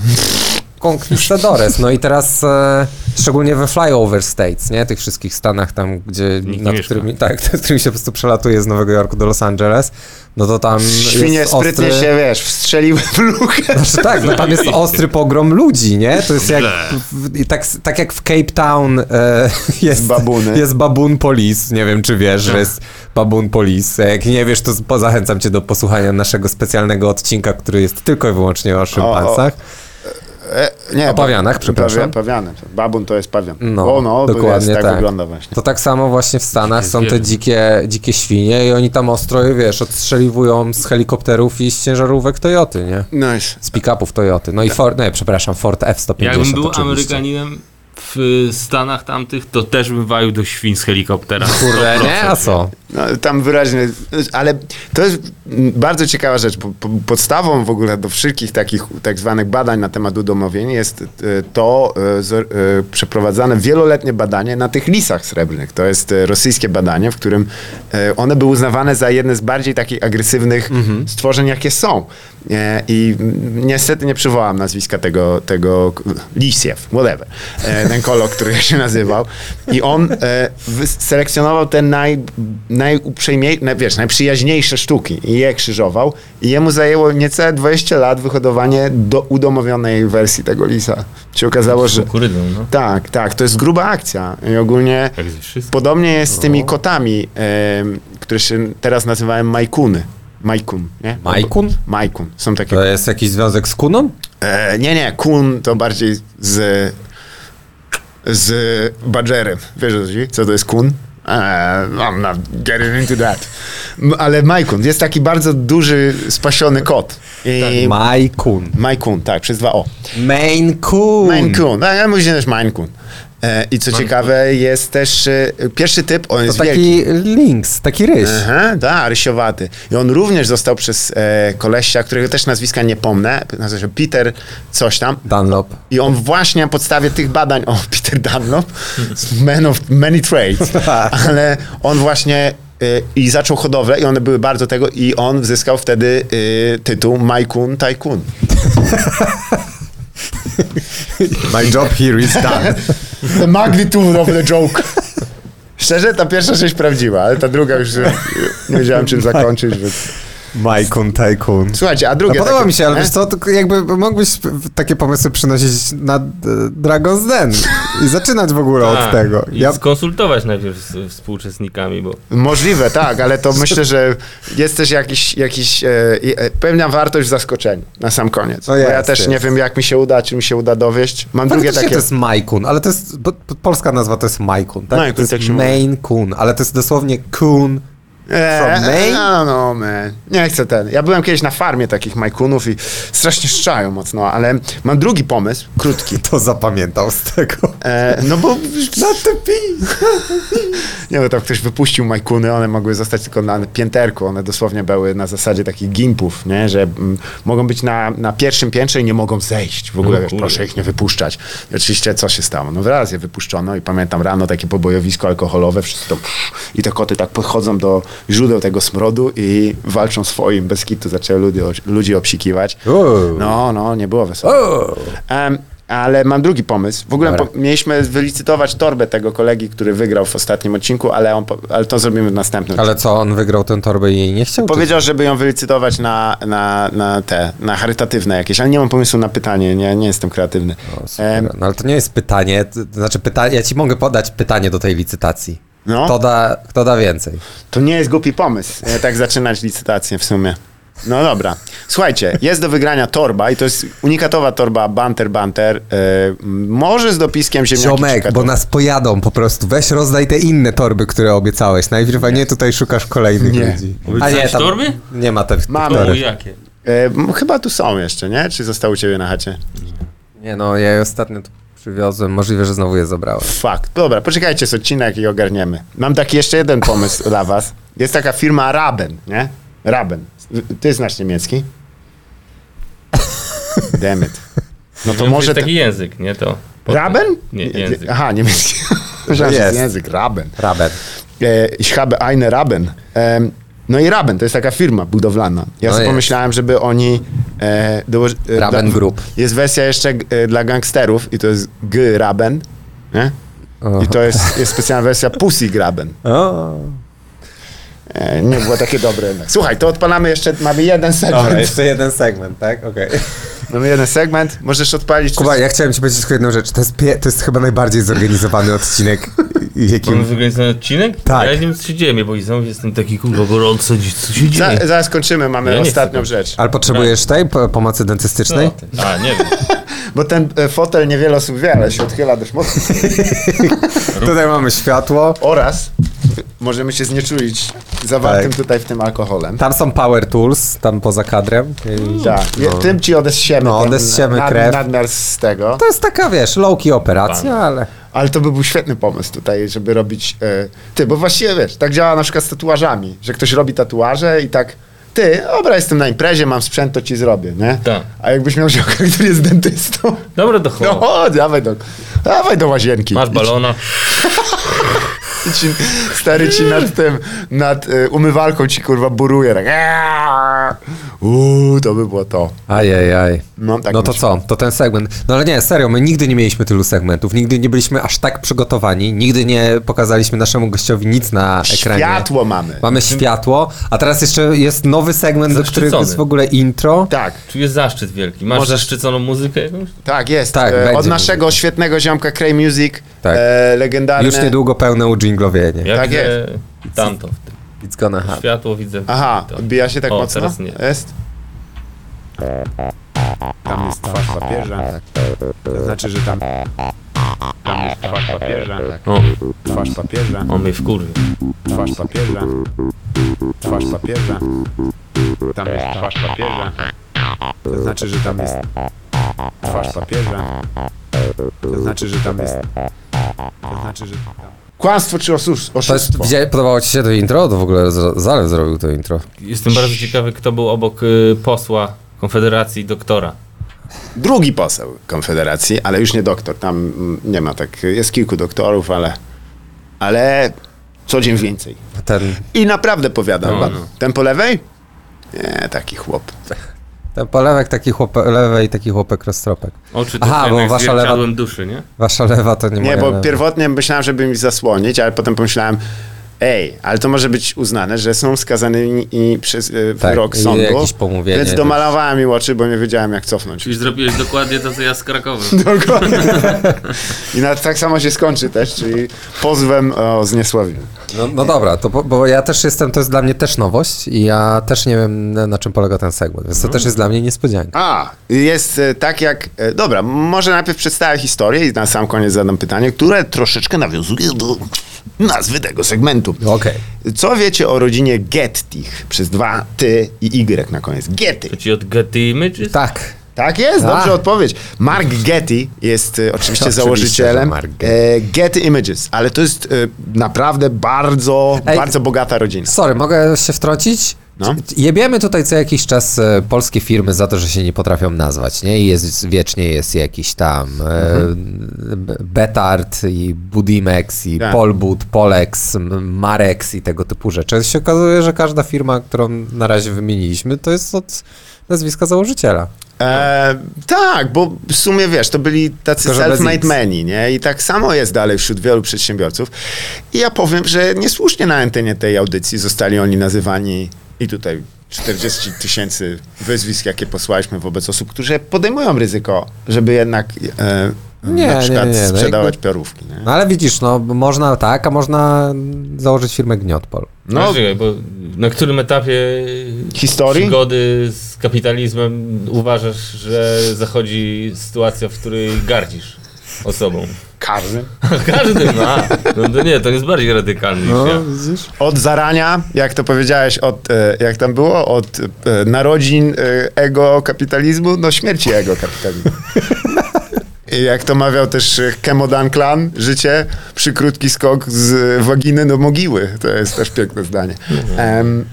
Conquistadores. No i teraz e, szczególnie we flyover states, nie? Tych wszystkich stanach tam, gdzie nie nad mieszka. którymi, tak, nad którymi się po prostu przelatuje z Nowego Jorku do Los Angeles, no to tam Świnie jest sprytnie ostry... się, wiesz, wstrzeliły w lukę. Znaczy tak, no tam jest ostry pogrom ludzi, nie? To jest jak, w, i tak, tak jak w Cape Town e, jest, babuny. jest babun police, nie wiem czy wiesz, że jest babun police. Jak nie wiesz, to z- po- zachęcam cię do posłuchania naszego specjalnego odcinka, który jest tylko i wyłącznie o szympansach. Nie, O pawianach, pa- przepraszam. pawi- Pawiany. Babun to jest pawian. No, o, no to dokładnie jest, tak, tak. wygląda właśnie. To tak samo właśnie w Stanach są te zwierzę. dzikie, dzikie świnie i oni tam ostro, wiesz, odstrzeliwują z helikopterów i z ciężarówek Toyoty, nie? Nice. Z pick-upów Toyoty. No i Ford, nie, przepraszam, Ford F-150 Tak. Jakbym był oczywiście. Amerykaninem w y, Stanach tamtych, to też bym walił do świń z helikoptera. Kurde, nie? A co? No, tam wyraźnie, ale to jest mm, bardzo ciekawa rzecz. bo po- Podstawą w ogóle do wszelkich takich tak zwanych badań na temat udomowień jest e, to e, zor- e, przeprowadzane wieloletnie badanie na tych lisach srebrnych. To jest e, rosyjskie badanie, w którym e, one były uznawane za jedne z bardziej takich agresywnych Mhm. stworzeń, jakie są. E, I mm, niestety nie przywołam nazwiska tego, tego k- Lisiew, whatever, e, ten kolok, który się nazywał. I on e, selekcjonował te naj, najuprzejmiej, na, wiesz, najprzyjaźniejsze sztuki i je krzyżował. I jemu zajęło niecałe 20 lat wyhodowanie do udomowionej wersji tego lisa. Się okazało, że... Kukurydą, no. Tak, tak, to jest gruba akcja. I ogólnie... Jak ze wszystkim. Podobnie jest z tymi kotami, em, które się teraz nazywają majkuny. Majkun, nie? Majkun? Majkun. Są takie. To jest jakiś związek z kuną? E, nie, nie, kun to bardziej z. z badżerem. Wiesz, o co chodzi? co to jest kun? Eee, I'm not getting into that. M- Ale Majkun jest taki bardzo duży, spasiony kot. Tak. I Majkun. Majkun, tak, przez dwa O. Maine Coon. Maine Coon, a ja mówię, że to jest Maine Coon. E, I co ciekawe, jest też e, pierwszy typ, on To jest wielki. taki links, taki ryż. Aha, da, rysiowaty. I on również został przez e, koleścia, którego też nazwiska nie pomnę, nazywa się Peter coś tam. Dunlop. I on właśnie na podstawie tych badań, o, Peter Dunlop, man of many trades, Tak. ale on właśnie y, i zaczął hodowlę i one były bardzo tego i on zyskał wtedy y, tytuł Majkun Tycoon. My job here is done. The magnitude of the joke. Szczerze, ta pierwsza część prawdziwa, ale ta druga już y, nie wiedziałem Tak. czym zakończyć. Więc... Majkun Tycoon. Słuchajcie, a No drugie podoba takie- mi się, ale e? wiesz co, tylko jakby mógłbyś p- takie pomysły przynosić na e, Dragon's Den i zaczynać w ogóle od tego. Tak, I Ja, skonsultować najpierw z współuczestnikami, bo Możliwe, tak, ale to myślę, że jest też jakiś, jakiś e, e, pewna wartość w zaskoczeniu na sam koniec. No bo ja jest, też jest. nie wiem, jak mi się uda, czy mi się uda dowieść. Mam drugie faktycznie takie... to jest Majkun, ale to jest, bo, bo polska nazwa to jest Majkun, tak? Majkun, to jest tak się mówi. Maine Coon, ale to jest dosłownie Coon. Eee, From Maine? No, no, man. Nie chcę ten. Ja byłem kiedyś na farmie takich majkunów i strasznie szczają mocno, ale mam drugi pomysł, krótki. To zapamiętał z tego. E, no bo... Na te pi- Nie wiem, tam ktoś wypuścił majkuny, one mogły zostać tylko na pięterku. One dosłownie były na zasadzie takich gimpów, nie? że mm, mogą być na, na pierwszym piętrze i nie mogą zejść. W ogóle, No wiesz, kurde. proszę ich nie wypuszczać. I oczywiście co się stało? No raz je wypuszczono i pamiętam rano takie pobojowisko alkoholowe, wszyscy to pff, i te koty tak podchodzą do źródeł tego smrodu i walczą swoim, bez kitu zaczęły ludzi, ludzi obsikiwać. Uuu. No, no, nie było wesoło. Em, ale mam drugi pomysł. W ogóle po, Dobra. mieliśmy wylicytować torbę tego kolegi, który wygrał w ostatnim odcinku, ale, on, po- ale to zrobimy w następnym. Ale co, on wygrał tę torbę i jej nie chciał? czy- Powiedział, żeby ją wylicytować na, na, na te, na charytatywne jakieś, ale nie mam pomysłu na pytanie, nie, nie jestem kreatywny. O, super. Em, No ale to nie jest pytanie, to to znaczy pytanie, ja ci mogę podać pytanie do tej licytacji. no, Kto to... da, kto da więcej? nie jest głupi pomysł, e, tak zaczynać licytację w sumie. No dobra. Słuchajcie, jest do wygrania torba i to jest unikatowa torba Banter Banter, e, może z dopiskiem ziemniaki. Ziomek, czy bo nas pojadą po prostu. Weź rozdaj te inne torby, które obiecałeś. Najpierw, a nie tutaj szukasz kolejnych Nie. ludzi. A Obiecałeś nie, torby? Nie ma tych Mamy. torb. O, jakie? E, m- chyba tu są jeszcze, nie? Czy zostały u ciebie na chacie? Nie no, ja ostatnio tu przywiozłem. Możliwe, że znowu je zabrałem. Fakt. Dobra, poczekajcie z odcinek i ogarniemy. Mam taki jeszcze jeden pomysł dla was. Jest taka firma Raben, nie? Raben. Ty znasz niemiecki? Damn it. No to może... jest Taki... taki język, nie to. Raben? Nie, język. Aha, niemiecki. Myślałem, że Jest. jest język. Raben. Raben. E, Ich habe eine Raben. Em, No i Raben, to jest taka firma budowlana. Ja No sobie jest. pomyślałem, żeby oni... E, dołoży, e, Raben Group. Jest wersja jeszcze e, dla gangsterów i to jest G Raben. Nie? I to jest, jest specjalna wersja Pussy Graben. O. E, nie było takie dobre. jednak. Słuchaj, to odpalamy jeszcze, mamy jeden Dobra, segment. jeszcze jeden segment, tak? Okej. Mamy jeden segment, możesz odpalić. Kuba, ja chciałem ci powiedzieć tylko jedną rzecz. To jest, pie- to jest chyba najbardziej zorganizowany odcinek, Mamy jakim... wygrany odcinek? Tak. Ja nie wiem, co się dzieje, mnie, bo i znowu jestem taki kurwa gorąco, dziś, co się dzieje? Za, zaraz kończymy, mamy Ja nie ostatnią rzecz. Ale potrzebujesz tej po- pomocy dentystycznej? No, A, nie wiem. Bo ten e, fotel niewiele osób wie, ale się odchyla dość mocno. Tutaj mamy światło. Oraz możemy się znieczulić zawartym Tak. tutaj w tym alkoholem. Tam są power tools, tam poza kadrem. I- Tak, Je- tym ci odessiemy. No, ten odessiemy nad- krew. Nadmiar z tego. To jest taka, wiesz, low-key operacja, ale... Ale to by był świetny pomysł tutaj, żeby robić. E, ty, bo właściwie wiesz, tak działa na przykład z tatuażami, że ktoś robi tatuaże i tak. Ty, dobra, jestem na imprezie, mam sprzęt, to ci zrobię, nie? Tak. A jakbyś miał ziomka, który jest dentystą, Dobra, to no chłop. chodź, dawaj do, dawaj do łazienki. Masz balona. I ci, stary ci nad tym, nad y, umywalką ci kurwa buruje, tak. Aaaa! Uuu, to by było to. Ajajaj. No, tak no to myślę. co, to ten segment. No ale nie, serio, my nigdy nie mieliśmy tylu segmentów, nigdy nie byliśmy aż tak przygotowani, nigdy nie pokazaliśmy naszemu gościowi nic na ekranie. Światło mamy. Mamy światło, a teraz jeszcze jest nowy segment, do którego Zaszczycony. jest w ogóle intro. Tak, Tu jest zaszczyt wielki. Masz Możesz- zaszczyconą muzykę jakąś? tak, jest. Tak, e, od będzie. naszego świetnego ziomka Cray Music, Tak. e, legendarny. Już niedługo pełne udżinglowienie. Ja Tak widzę Tamto. w tym. It's gonna happen. Światło widzę. Aha, To. odbija się tak O, mocno? teraz nie. Jest? Tam jest twarz papieża. To znaczy, że tam... Tam jest twarz papieża. O, Twarz papieża. on mnie wkurwił. Twarz papieża. Twarz papieża. Tam jest twarz papieża. To znaczy, że tam jest... Twarz papieża. To znaczy, że tam jest... To znaczy, że tam... Kłamstwo czy oszust- To jest, oszustwo? widzia- podobało ci się to intro? To w ogóle Z- Zalew zrobił to intro. Jestem bardzo ciekawy, kto był obok y, posła Konfederacji doktora. drugi poseł Konfederacji, ale już nie doktor. Tam mm, nie ma tak. Jest kilku doktorów, ale, ale co dzień więcej. Ten, I naprawdę powiadam No, wam. no. Ten po lewej? Nie, taki chłop. ten polewek, taki chłop lewej, taki chłopek roztropek. Oczy Aha, Aha, bo bo wasza wasza lewa- duszy, nie? Wasza lewa to nie, Nie, moja bo lewa. pierwotnie myślałem, żeby mi zasłonić, ale potem pomyślałem, ej, ale to może być uznane, że są skazani i przez e, Tak, wyrok i sądu. jakieś pomówienie, Więc więc- domalowałem im oczy, bo nie wiedziałem, jak cofnąć. Czyli zrobiłeś dokładnie to, co ja z Krakowem. Dokładnie. I nawet tak samo się skończy też, czyli pozwem e, o zniesławienie. No, no dobra, to bo, bo ja też jestem, to jest dla mnie też nowość i ja też nie wiem na, na czym polega ten segment, więc to Mhm. też jest dla mnie niespodzianka. A, jest e, tak jak. e, Dobra, może najpierw przedstawię historię i na sam koniec zadam pytanie, które troszeczkę nawiązuje do nazwy tego segmentu. Okej. Co wiecie o rodzinie Gettich przez dwa ty i y na koniec? Getty. To ci odgadyjmy, czy? Tak. Tak jest, dobrze A. odpowiedź. Mark Getty jest e, oczywiście Oczywiście, że założycielem Mark Getty. e, Getty Images, ale to jest e, naprawdę bardzo, Ej. bardzo bogata rodzina. E, Sorry, mogę się wtrącić? No. Jebiemy tutaj co jakiś czas e, polskie firmy za to, że się nie potrafią nazwać, nie? I jest, wiecznie jest jakiś tam e, B- Betard i Budimex i Mhm. Tak. Polbud, Polex, M- Marex i tego typu rzeczy. Się okazuje, że każda firma, którą na razie wymieniliśmy, to jest od nazwiska założyciela. E, tak, bo w sumie wiesz, to byli tacy Tylko, że bez nic. self-made meni, nie? I tak samo jest dalej wśród wielu przedsiębiorców. I ja powiem, że niesłusznie na antenie tej audycji zostali oni nazywani i tutaj 40 tysięcy wyzwisk, jakie posłaliśmy wobec osób, które podejmują ryzyko, żeby jednak e, Nie, na nie, przykład nie, nie, no sprzedawać jakby- piorówki. Nie? No ale widzisz, no można tak, a można założyć firmę Gniotpol. No, czekaj, bo na którym etapie Historii? przygody z kapitalizmem uważasz, że zachodzi sytuacja, w której gardzisz osobą? Każdy. Każdy ma. No to nie, to jest bardziej radykalny niż ja. widzisz? Od zarania, jak to powiedziałeś, od, e, jak tam było, od No, e, narodzin e, ego kapitalizmu do śmierci ego kapitalizmu. I jak to mawiał też e, Kemodan Klan, życie, przykrótki skok z waginy do mogiły. To jest też piękne zdanie. Em,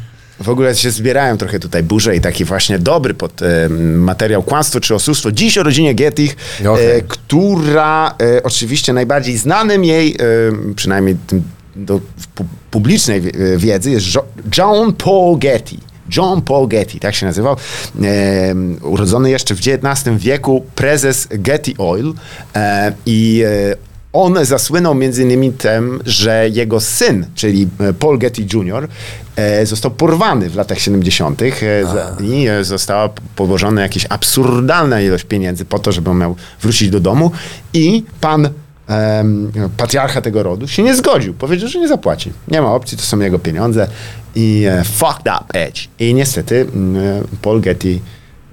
w ogóle się zbierają trochę tutaj burze i taki właśnie dobry pod em, materiał kłamstwo czy oszustwo. Dziś o rodzinie Getich, Okej. e, która e, oczywiście najbardziej znanym jej, e, przynajmniej tym do pu- publicznej wi- e, wiedzy, jest Jo- John Paul Getty. John Paul Getty, tak się nazywał. E, urodzony jeszcze w XIX wieku, prezes Getty Oil. E, I e, on zasłynął między innymi tym, że jego syn, czyli e, Paul Getty Jr., e, został porwany w latach 70. E, za- i e, została p- położona jakaś absurdalna ilość pieniędzy po to, żeby on miał wrócić do domu. I pan em, patriarcha tego rodu się nie zgodził. Powiedział, że nie zapłaci. Nie ma opcji, to są jego pieniądze. I e, fucked up edge. I niestety mm, e, Paul Getty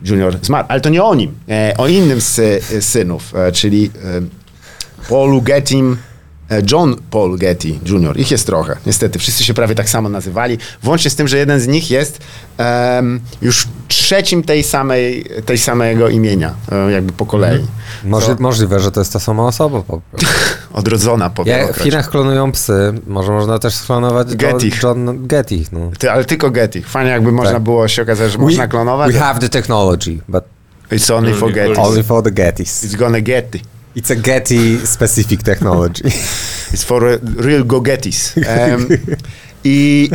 Jr. zmarł. Ale to nie o nim, e, o innym z e, synów, e, czyli e, Paulu Gettim, e, John Paul Getty Jr. Ich jest trochę, niestety. Wszyscy się prawie tak samo nazywali, włącznie z tym, że jeden z nich jest em, już trzecim tej samej, tej samego imienia, e, jakby po kolei. Może, możliwe, że to jest ta sama osoba. Po prostu. Odrodzona, powiem. Jak w Chinach klonują psy, może można też sklonować John- Gettych. John Gettych. No. Ty, ale tylko Getty. Fajnie jakby można było się okazać, że można klonować. We have the technology, but It's only for Getty. only for the Gettys. It's gonna Getty. It's a Getty-specific technology. It's for real go-getties. Em, I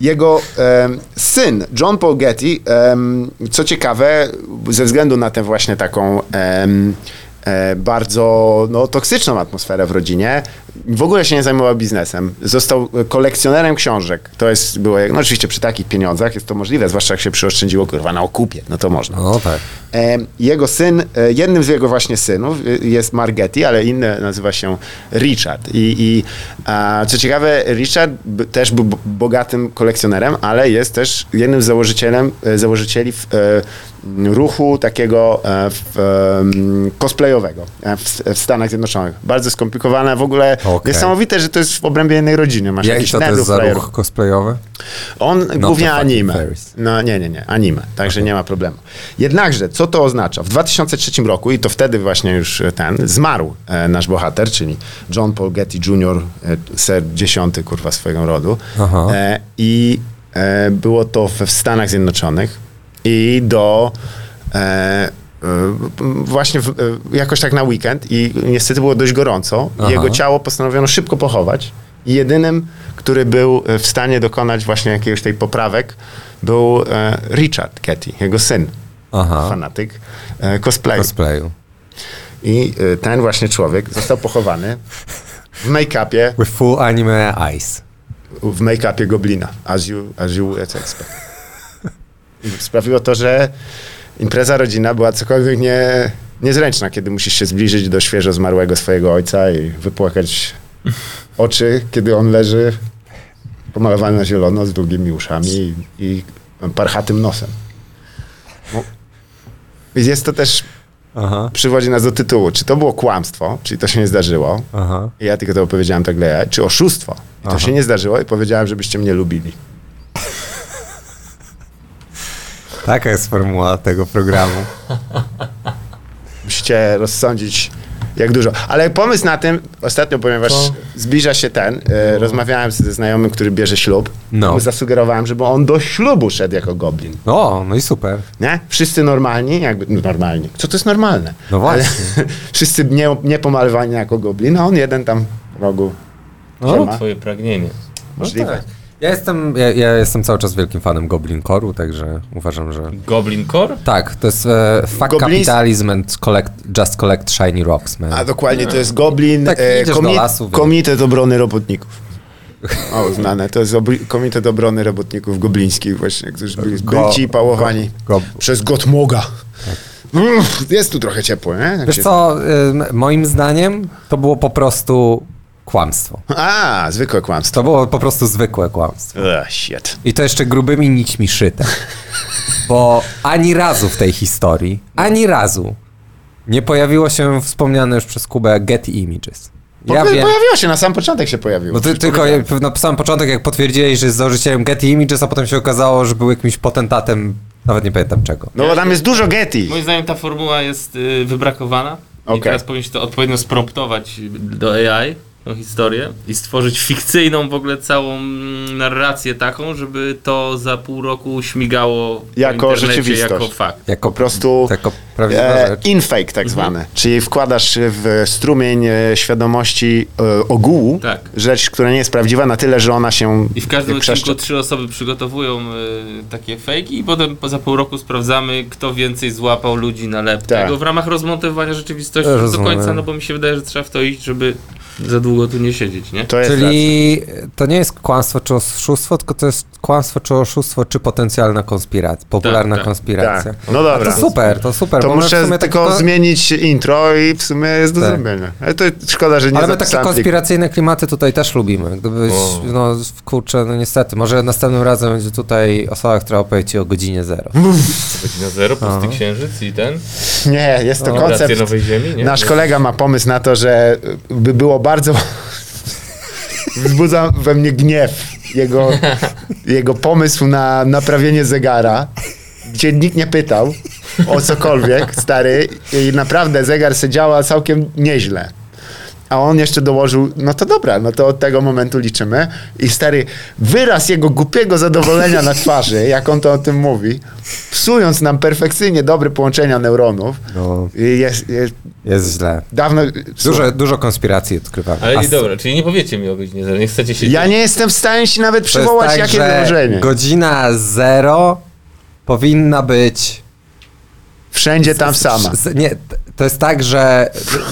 jego em, syn, John Paul Getty, em, co ciekawe, ze względu na tę właśnie taką em, e, bardzo no, toksyczną atmosferę w rodzinie, w ogóle się nie zajmował biznesem. Został e, kolekcjonerem książek. To jest, było, jak- no oczywiście przy takich pieniądzach jest to możliwe, zwłaszcza jak się przyoszczędziło, kurwa, na okupie, no to można. No tak. E, Jego syn, e, jednym z jego właśnie synów e, jest Margetti, ale inny nazywa się Richard. I, i a, co ciekawe, Richard b- też był b- bogatym kolekcjonerem, ale jest też jednym z założycielem, e, założycieli w, e, m, ruchu takiego e, w, e, m, cosplayowego e, w, w Stanach Zjednoczonych. Bardzo skomplikowane, w ogóle Okej. niesamowite, że to jest w obrębie jednej rodziny. Masz Jak jakiś to, to nerdów, jest za frajerów. ruch cosplayowy? On głównie the fucking anime. fairies. No nie, nie, nie, anime, także nie ma problemu. Jednakże, co to oznacza? W 2003 roku, i to wtedy właśnie już e, ten, zmarł e, nasz bohater, czyli John Paul Getty Jr., e, ser dziesiąty, kurwa, swojego rodu. Aha. E, I e, było to w, w Stanach Zjednoczonych i do... E, e, m, Właśnie w, e, jakoś tak na weekend i niestety było dość gorąco. i Aha. Jego ciało postanowiono szybko pochować. I jedynym, który był e, w stanie dokonać właśnie jakiegoś tej poprawek, był e, Richard Getty, jego syn, Aha, fanatyk e, cosplayu. cosplayu. I e, ten właśnie człowiek został pochowany w make-upie, With full anime eyes. w make-upie goblina, as you, as you would expect. I sprawiło to, że impreza rodzina była cokolwiek nie, niezręczna, kiedy musisz się zbliżyć do świeżo zmarłego swojego ojca i wypłakać oczy, kiedy on leży pomalowany na zielono z długimi uszami i, i parchatym nosem. No. Więc Jest to też, Aha, przywodzi nas do tytułu, czy to było kłamstwo, czyli to się nie zdarzyło, aha. i ja tylko to powiedziałem tak dla jaj, czy oszustwo. I to się nie zdarzyło i powiedziałem, żebyście mnie lubili. Taka jest formuła tego programu. Musicie rozsądzić, jak dużo. Ale pomysł na tym, ostatnio, ponieważ zbliża się ten, e, rozmawiałem ze znajomym, który bierze ślub, No. mu zasugerowałem, żeby on do ślubu szedł jako goblin. O, no i super. Nie? Wszyscy normalni, jakby no, normalni. Co to jest normalne? No właśnie. Ale, wszyscy nie, nie pomalowani jako goblin, a on jeden tam w rogu. No, ma. Twoje pragnienie. Możliwe. tak. Ja jestem, ja, ja jestem cały czas wielkim fanem Goblin Core'u, także uważam, że... Goblin Core? Tak, to jest e, fuck Goblins- capitalism and collect, just collect shiny rocks, man. A dokładnie, to jest Goblin, Tak, e, idziesz do komi- lasu, więc- Komitet Obrony Robotników. O, znane. To jest obli- Komitet Obrony Robotników Goblińskich właśnie, którzy byli zbyci i pałowani go- Tak. go- przez Gotmoga. Uff, Jest tu trochę ciepło, nie? Jak Wiesz się- co, y, moim zdaniem to było po prostu kłamstwo. A, zwykłe kłamstwo. To było po prostu zwykłe kłamstwo. Ugh, shit. I to jeszcze grubymi nićmi szyte. Bo ani razu w tej historii, ani razu nie pojawiło się wspomniane już przez Kubę Get Images. Po- Pojawiło się, na sam początek się pojawiło. No ty, Przecież tylko powiedziałem. jak na sam początek, jak potwierdzili, że jest założycielem Getty Images, a potem się okazało, że był jakimś potentatem, nawet nie pamiętam czego. No bo tam jest dużo Getty. Moim zdaniem ta formuła jest y, wybrakowana. I teraz powinien się to odpowiednio spromptować do AI, tą historię i stworzyć fikcyjną w ogóle całą mm, narrację taką, żeby to za pół roku śmigało w Jako internecie rzeczywistość. jako fakt. Jako, Po prostu jako prawdziwa e, rzecz. Mhm. infake tak zwany, czyli wkładasz w strumień e, świadomości e, ogółu Tak. rzecz, która nie jest prawdziwa na tyle, że ona się I w każdym krzeszczy. odcinku trzy osoby przygotowują y, takie fejki i potem po- za pół roku sprawdzamy, kto więcej złapał ludzi na lep Tak. tego w ramach rozmontowania rzeczywistości Ja do rozumiem. końca, no bo mi się wydaje, że trzeba w to iść, żeby za długo tu nie siedzieć, nie? To jest racja. Czyli to nie jest kłamstwo czy oszustwo, tylko to jest kłamstwo czy oszustwo, czy potencjalna konspiracja, popularna tak, konspiracja. tak. No dobra. To super, to super. To bo my w muszę sumie tylko takie- zmienić intro i w sumie jest do Tak. zrobienia. Ale to szkoda, że nie Ale my takie zapisałem pliku. konspiracyjne klimaty tutaj też lubimy. Gdybyś, no kurczę, no niestety, może następnym razem będzie tutaj osoba, która opowie ci o godzinie zero. No. Godzina zero, pusty księżyc i ten. Nie, jest to Rację koncept. no nowej ziemi, nie? Nasz kolega ma pomysł na to, że by było bardzo. Wzbudza we mnie gniew jego, jego pomysł na naprawienie zegara, gdzie nikt nie pytał o cokolwiek, stary, i naprawdę zegar se działa całkiem nieźle. A on jeszcze dołożył, no to dobra, no to od tego momentu liczymy. I stary, wyraz jego głupiego zadowolenia na twarzy, jak on to o tym mówi, psując nam perfekcyjnie dobre połączenia neuronów, No, i jest, jest jest źle. dawno. Dużo, dużo konspiracji odkrywamy. Ale A nie dobra, czyli nie powiecie mi o godzinie zero, nie chcecie się... Ja nie jestem w stanie ci nawet To jest przywołać, tak, jakie że wydarzenie. Godzina zero powinna być. Wszędzie tam sama. Z, nie, t- to jest tak, że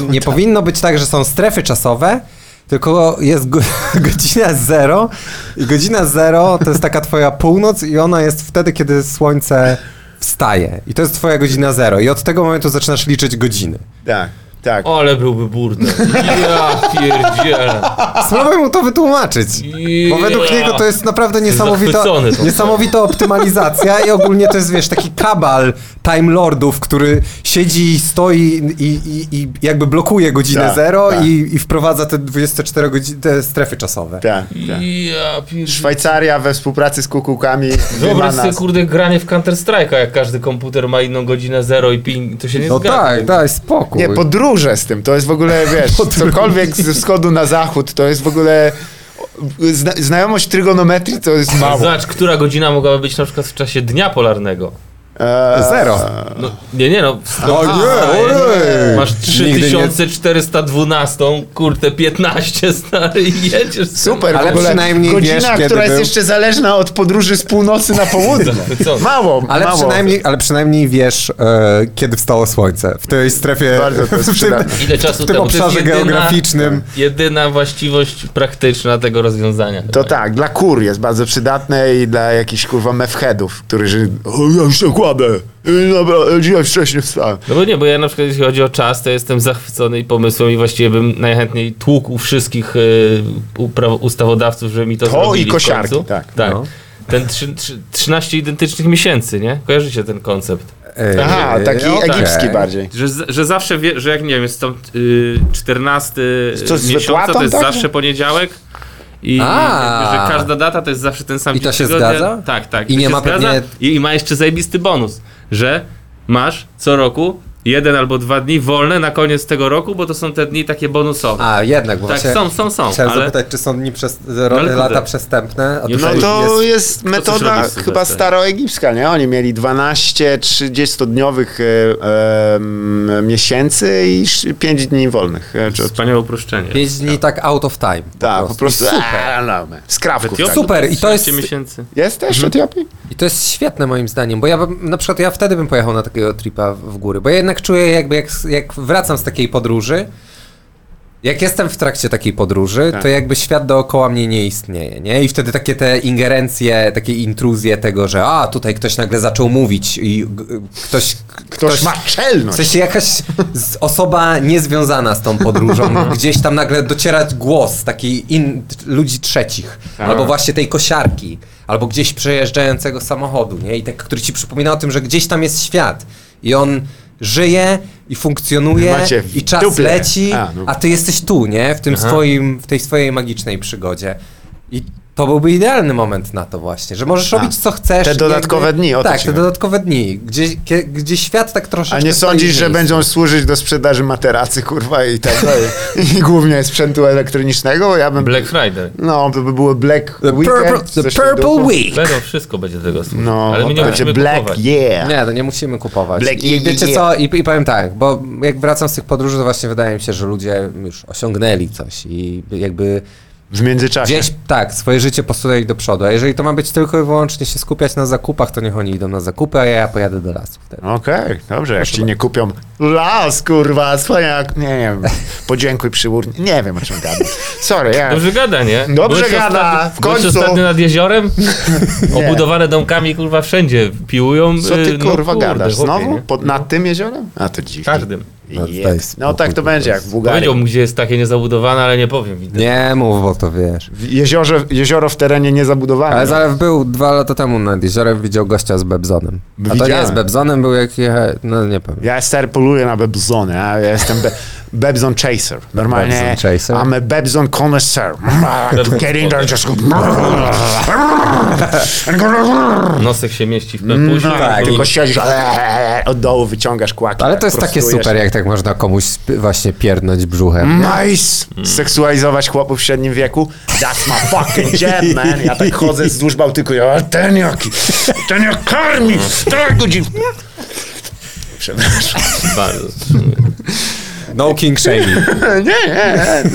nie powinno być tak, że są strefy czasowe, tylko jest go, godzina zero i godzina zero to jest taka twoja północ i ona jest wtedy, kiedy słońce wstaje. I to jest twoja godzina zero. I od tego momentu zaczynasz liczyć godziny. Tak, tak. O, ale byłby burdel. Ja pierdzielę. Spróbuj mu to wytłumaczyć. Bo według niego to jest naprawdę niesamowita, zachwycony tą niesamowita optymalizacja i ogólnie to jest, wiesz, taki kabal Time Lordów, który siedzi i stoi i, i, i jakby blokuje godzinę Tak, zero tak. I, i wprowadza te 24 godziny, te strefy czasowe. tak, tak. Ja pierdzielę. Szwajcaria we współpracy z kukułkami. Wyobraź wyma sobie, nas. kurde, granie w Counter-Strike'a, jak każdy komputer ma inną godzinę zero i ping, to się nie No zgadza. tak, daj spokój. Nie, podróże z tym. To jest w ogóle, wiesz, cokolwiek ze wschodu na zachód, to jest w ogóle. Zna znajomość trygonometrii to jest mało. Zobacz, która godzina mogłaby być na przykład w czasie dnia polarnego. Eee, Zero. No, nie, nie, no. w- O nie, ojej. Masz Nigdy nie- 3412, kurde, 15 stary i jedziesz. z tym. Super, Ale w ogóle przynajmniej godzina, wiesz, kiedy która jest był. jeszcze zależna od podróży z północy na południe. Co? Mało, Ale mało. przynajmniej, ale przynajmniej wiesz, e, kiedy wstało słońce. W tej strefie, Bardzo to jest w tym, przydatne. Ile czasu w tym temu? To jest obszarze jedyna- geograficznym. Jedyna właściwość praktyczna tego rozwiązania. To tak, dla kur jest bardzo przydatne i dla jakichś kurwa mefheadów, którzy o, ja już się kładę, I dobra, e, dzisiaj wcześniej wstałem. No bo nie, bo ja na przykład jeśli chodzi o czas, to jestem zachwycony i pomysłem i właściwie bym najchętniej tłukł wszystkich y, upra- ustawodawców, żeby mi to, To zrobili i kosiarki, w końcu. tak. tak. No. Ten trzy, trzy, 13 identycznych miesięcy, nie? Kojarzycie ten koncept. E, Aha, taki okej. egipski bardziej. Że, z- że zawsze, wie, że jak nie wiem, jest tam y, 14 Co, z miesiąca, wypłatą tak? to jest taką? zawsze poniedziałek. I A. jakby, że każda data to jest zawsze ten sam I to dzień się tygodnia. zgadza? Tak, tak. I to nie się ma zgadza. pewnie- I, I ma jeszcze zajebisty bonus, że masz co roku jeden albo dwa dni wolne na koniec tego roku, bo to są te dni takie bonusowe. A, jednak, bo tak, właśnie... są, są, są. Chciałem ale... No, zapytać, czy są dni przez, ale kurde. lata przestępne? No A No tutaj to jest- jest metoda robi w chyba Sylwestra? staroegipska, nie? Oni mieli 12 30-dniowych e, em, miesięcy i 5 dni wolnych. E, czy- Wspaniałe uproszczenie. pięć dni tak out of time. Tak, po prostu. I a, no, no, Z krawków. Mhm. Etiopii Tak. Super, i to jest- 13 miesięcy. Jesteś w Etiopii? I to jest świetne moim zdaniem, bo ja bym, na przykład ja wtedy bym pojechał na takiego tripa w góry, bo ja jednak czuję jakby jak, jak wracam z takiej podróży, jak jestem w trakcie takiej podróży, to Tak. jakby świat dookoła mnie nie istnieje, nie? I wtedy takie te ingerencje, takie intruzje tego, że a, tutaj ktoś nagle zaczął mówić i g- ktoś... Ktoś ma W czelność. sensie jakaś z- osoba niezwiązana z tą podróżą, gdzieś tam nagle dociera głos taki in, ludzi trzecich, Tak. albo właśnie tej kosiarki, albo gdzieś przejeżdżającego samochodu, nie? I tak, który ci przypomina o tym, że gdzieś tam jest świat i on żyje i funkcjonuje Macie w i czas dupie. leci, A, no. a ty jesteś tu, nie? W tym swoim, w tej swojej magicznej przygodzie. I to byłby idealny moment na to właśnie, że możesz robić co chcesz. te i dodatkowe dni, o to Tak, ci te mówię. dodatkowe dni, gdzie, kie- gdzie świat tak troszeczkę... A nie stoi w sądzisz, że miejscu. będą służyć do sprzedaży materacy, kurwa, i tak dalej. I głównie sprzętu elektronicznego, bo ja bym... Black Friday. No, to by było Black The Weekend. purple, the coś w tym purple duchu. week! Będą, wszystko będzie do tego służyć. No, ale my nie będzie musimy Black kupować. Yeah. Nie, no nie musimy kupować. Black I Yee, wiecie Yee. co, i, i powiem tak, bo jak wracam z tych podróży, to właśnie wydaje mi się, że ludzie już osiągnęli coś i jakby W międzyczasie. gdzieś, tak, swoje życie posunęli do przodu. A jeżeli to ma być tylko i wyłącznie się skupiać na zakupach, to niech oni idą na zakupy, a ja pojadę do lasu wtedy. Okej, dobrze, jak ci nie kupią las, kurwa, cwaniak, nie wiem, podziękuj przyłórnie, nie wiem o czym gadam. Sorry, ja... Dobrze gada, nie? Tak. Dobrze Byłeś gada, ostatnio- w końcu. Byłeś ostatnio nad jeziorem? Obudowane domkami, kurwa, wszędzie piłują. Co y, ty, no, kurwa, kurde, gadasz? chłopie, Znowu? nie? Pod, nad tym jeziorem? A, to dziś. Każdym. No, Je- daj spokój, No tak to kurwa. będzie, jak w Bułgarii. Powiedział mu, gdzie jest takie niezabudowane, ale nie powiem. Widzę. Nie mów, bo to wiesz. W Jeziorze, jezioro w terenie niezabudowane. Ale Zalew był dwa lata temu nad jeziorem, widział gościa z Bebzonem. A to nie Widziałem. z Bebzonem, był jak jecha... no nie powiem. Ja stary poluję na bebzony, ja jestem be bebzon chaser. Normalnie Bebzon chaser? I'm a bebzon connoisseur. To get in there just go... Nosek się mieści w pępusie. Tak, tylko siedzisz od dołu, wyciągasz kłaki. Ale tak to jest takie prostujesz. super, jak tak można komuś sp- właśnie pierdnąć brzuchem. Nice! Seksualizować chłopów w średnim wieku? That's my fucking jam, man! Ja tak chodzę wzdłuż Bałtyku, ja, "A ten jaki, ten jak karmi, tak go dziw... Przepraszam. Bardzo. No king shaming. Nie, nie, nie.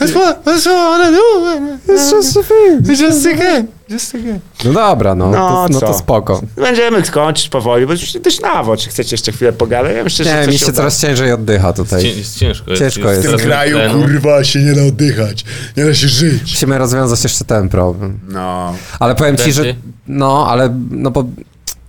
That's what, that's what I wanna do. It's just a thing. It's just a game. Just a game. No dobra, no, No, to, no to co? spoko. Będziemy kończyć powoli, bo już też nawo, czy chcecie jeszcze chwilę pogadać? Ja myślę, Nie, że coś mi się uda. coraz ciężej oddycha Cię- tutaj. Jest ciężko. Ciężko jest. jest W tym strasznie tlenu. kurwa, się nie da oddychać. Nie da się żyć. Musimy rozwiązać jeszcze ten problem. No. Ale powiem ci, że... Będzie? No, ale... No bo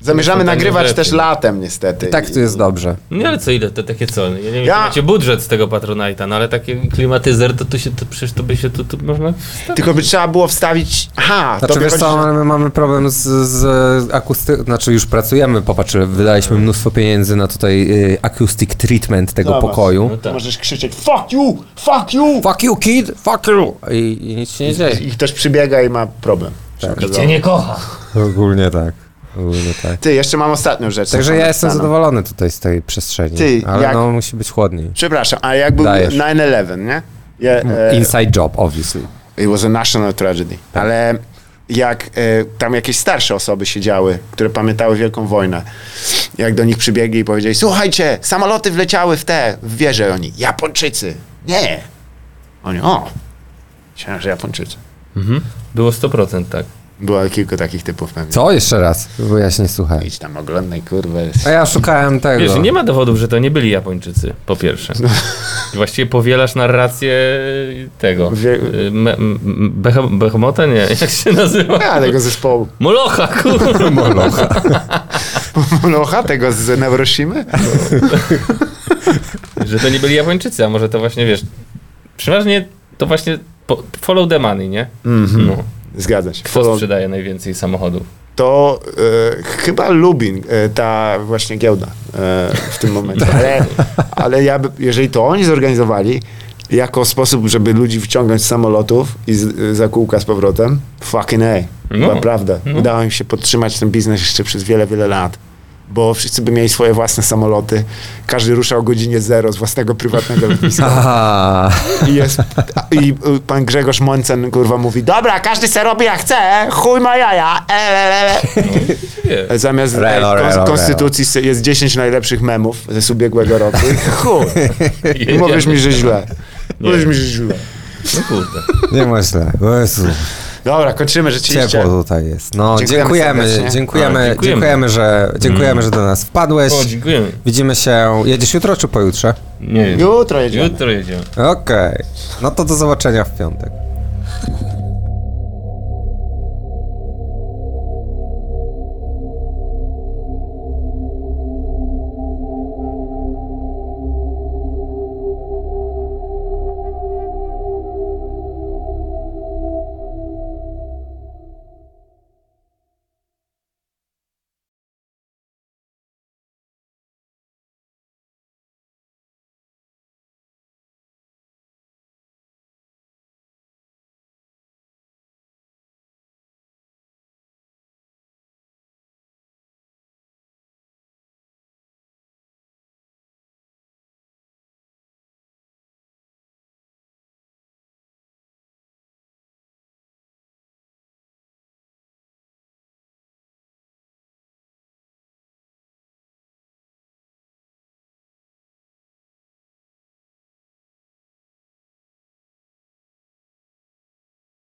Zamierzamy Są tam nagrywać rzeczy. też latem niestety. i tak tu jest dobrze. Nie, ale co ile, te takie co? Ja nie wiem, Ja- czy macie budżet z tego Patronite'a, no ale taki klimatyzer, to tu się, to przecież to by się tu, tu można... Tylko by trzeba było wstawić... Aha, Znaczy tobie wiesz co, chodzi, że- ale my mamy problem z, z akustyką, znaczy już pracujemy, popatrz, wydaliśmy mnóstwo pieniędzy na tutaj y, acoustic treatment tego Zobacz. pokoju. No tak. Możesz krzyczeć fuck you, fuck you! Fuck you kid, fuck you! I, i nic się nie dzieje. I ktoś przybiega i ma problem. I cię nie kocha. Ogólnie tak, ogólnie tak. Ty, jeszcze mam ostatnią rzecz. Także Zastanów- ja jestem zastanów. zadowolony tutaj z tej przestrzeni, Ty, ale jak- no musi być chłodniej. Przepraszam, a jak był Dajesz. 9-11, nie? Ja, e, Inside job, obviously. It was a national tragedy. Ale jak e, tam jakieś starsze osoby siedziały, które pamiętały Wielką Wojnę, jak do nich przybiegli i powiedzieli, słuchajcie, samoloty wleciały w te, w wieże oni, Japończycy. Nie. Oni, o, myślałem, że Japończycy. Było 100% tak. Było kilku takich typów pewnie. Co? Jeszcze raz, bo ja się nie słuchałem. Idź tam oglądaj, kurwa. A ja szukałem tego. Wiesz, nie ma dowodów, że to nie byli Japończycy, po pierwsze. No. Właściwie powielasz narrację tego. Wie- y, Me, m- m- Behem- behemota? Nie, jak się nazywa? Ja, tego zespołu. Molocha, kurwa. Molocha, No, tego z Neuroshimy? że to nie byli Japończycy, a może to właśnie, wiesz, przeważnie to właśnie po, follow the money, nie? Mhm. No. Zgadza się. Kto sprzedaje najwięcej samochodów? to e, chyba Lubin, e, ta właśnie giełda e, w tym momencie. Ale, ale ja by, jeżeli to oni zorganizowali jako sposób, żeby ludzi wciągnąć z samolotów i z, e, za kółka z powrotem, fucking ey, chyba No. prawda. Udało im się podtrzymać ten biznes jeszcze przez wiele, wiele lat. Bo wszyscy by mieli swoje własne samoloty. Każdy rusza o godzinie zero z własnego prywatnego lotniska. Aha. I, jest, I y, pan Grzegorz Moncen kurwa mówi, dobra, każdy se robi jak chce, chuj ma jaja. E, e, e. Nie. Zamiast Relo, e, relo, kons- relo. konstytucji se- jest 10 najlepszych memów z ubiegłego roku. I Chuj, I mówisz mi, że źle. Mówisz mi, że źle. No kurde. Nie ma źle. O Jezu, Dobra, kończymy rzeczywiście. ciepło tutaj jest. No, Dziękujemy dziękujemy, dziękujemy, Tak, dziękujemy, serdecznie. Mm. A, dziękujemy. że, dziękujemy, że do nas wpadłeś. O, dziękujemy. Widzimy się, jedziesz jutro czy pojutrze? Nie, Jutro jedziemy. jutro jedziemy. Okej, no to do zobaczenia w piątek.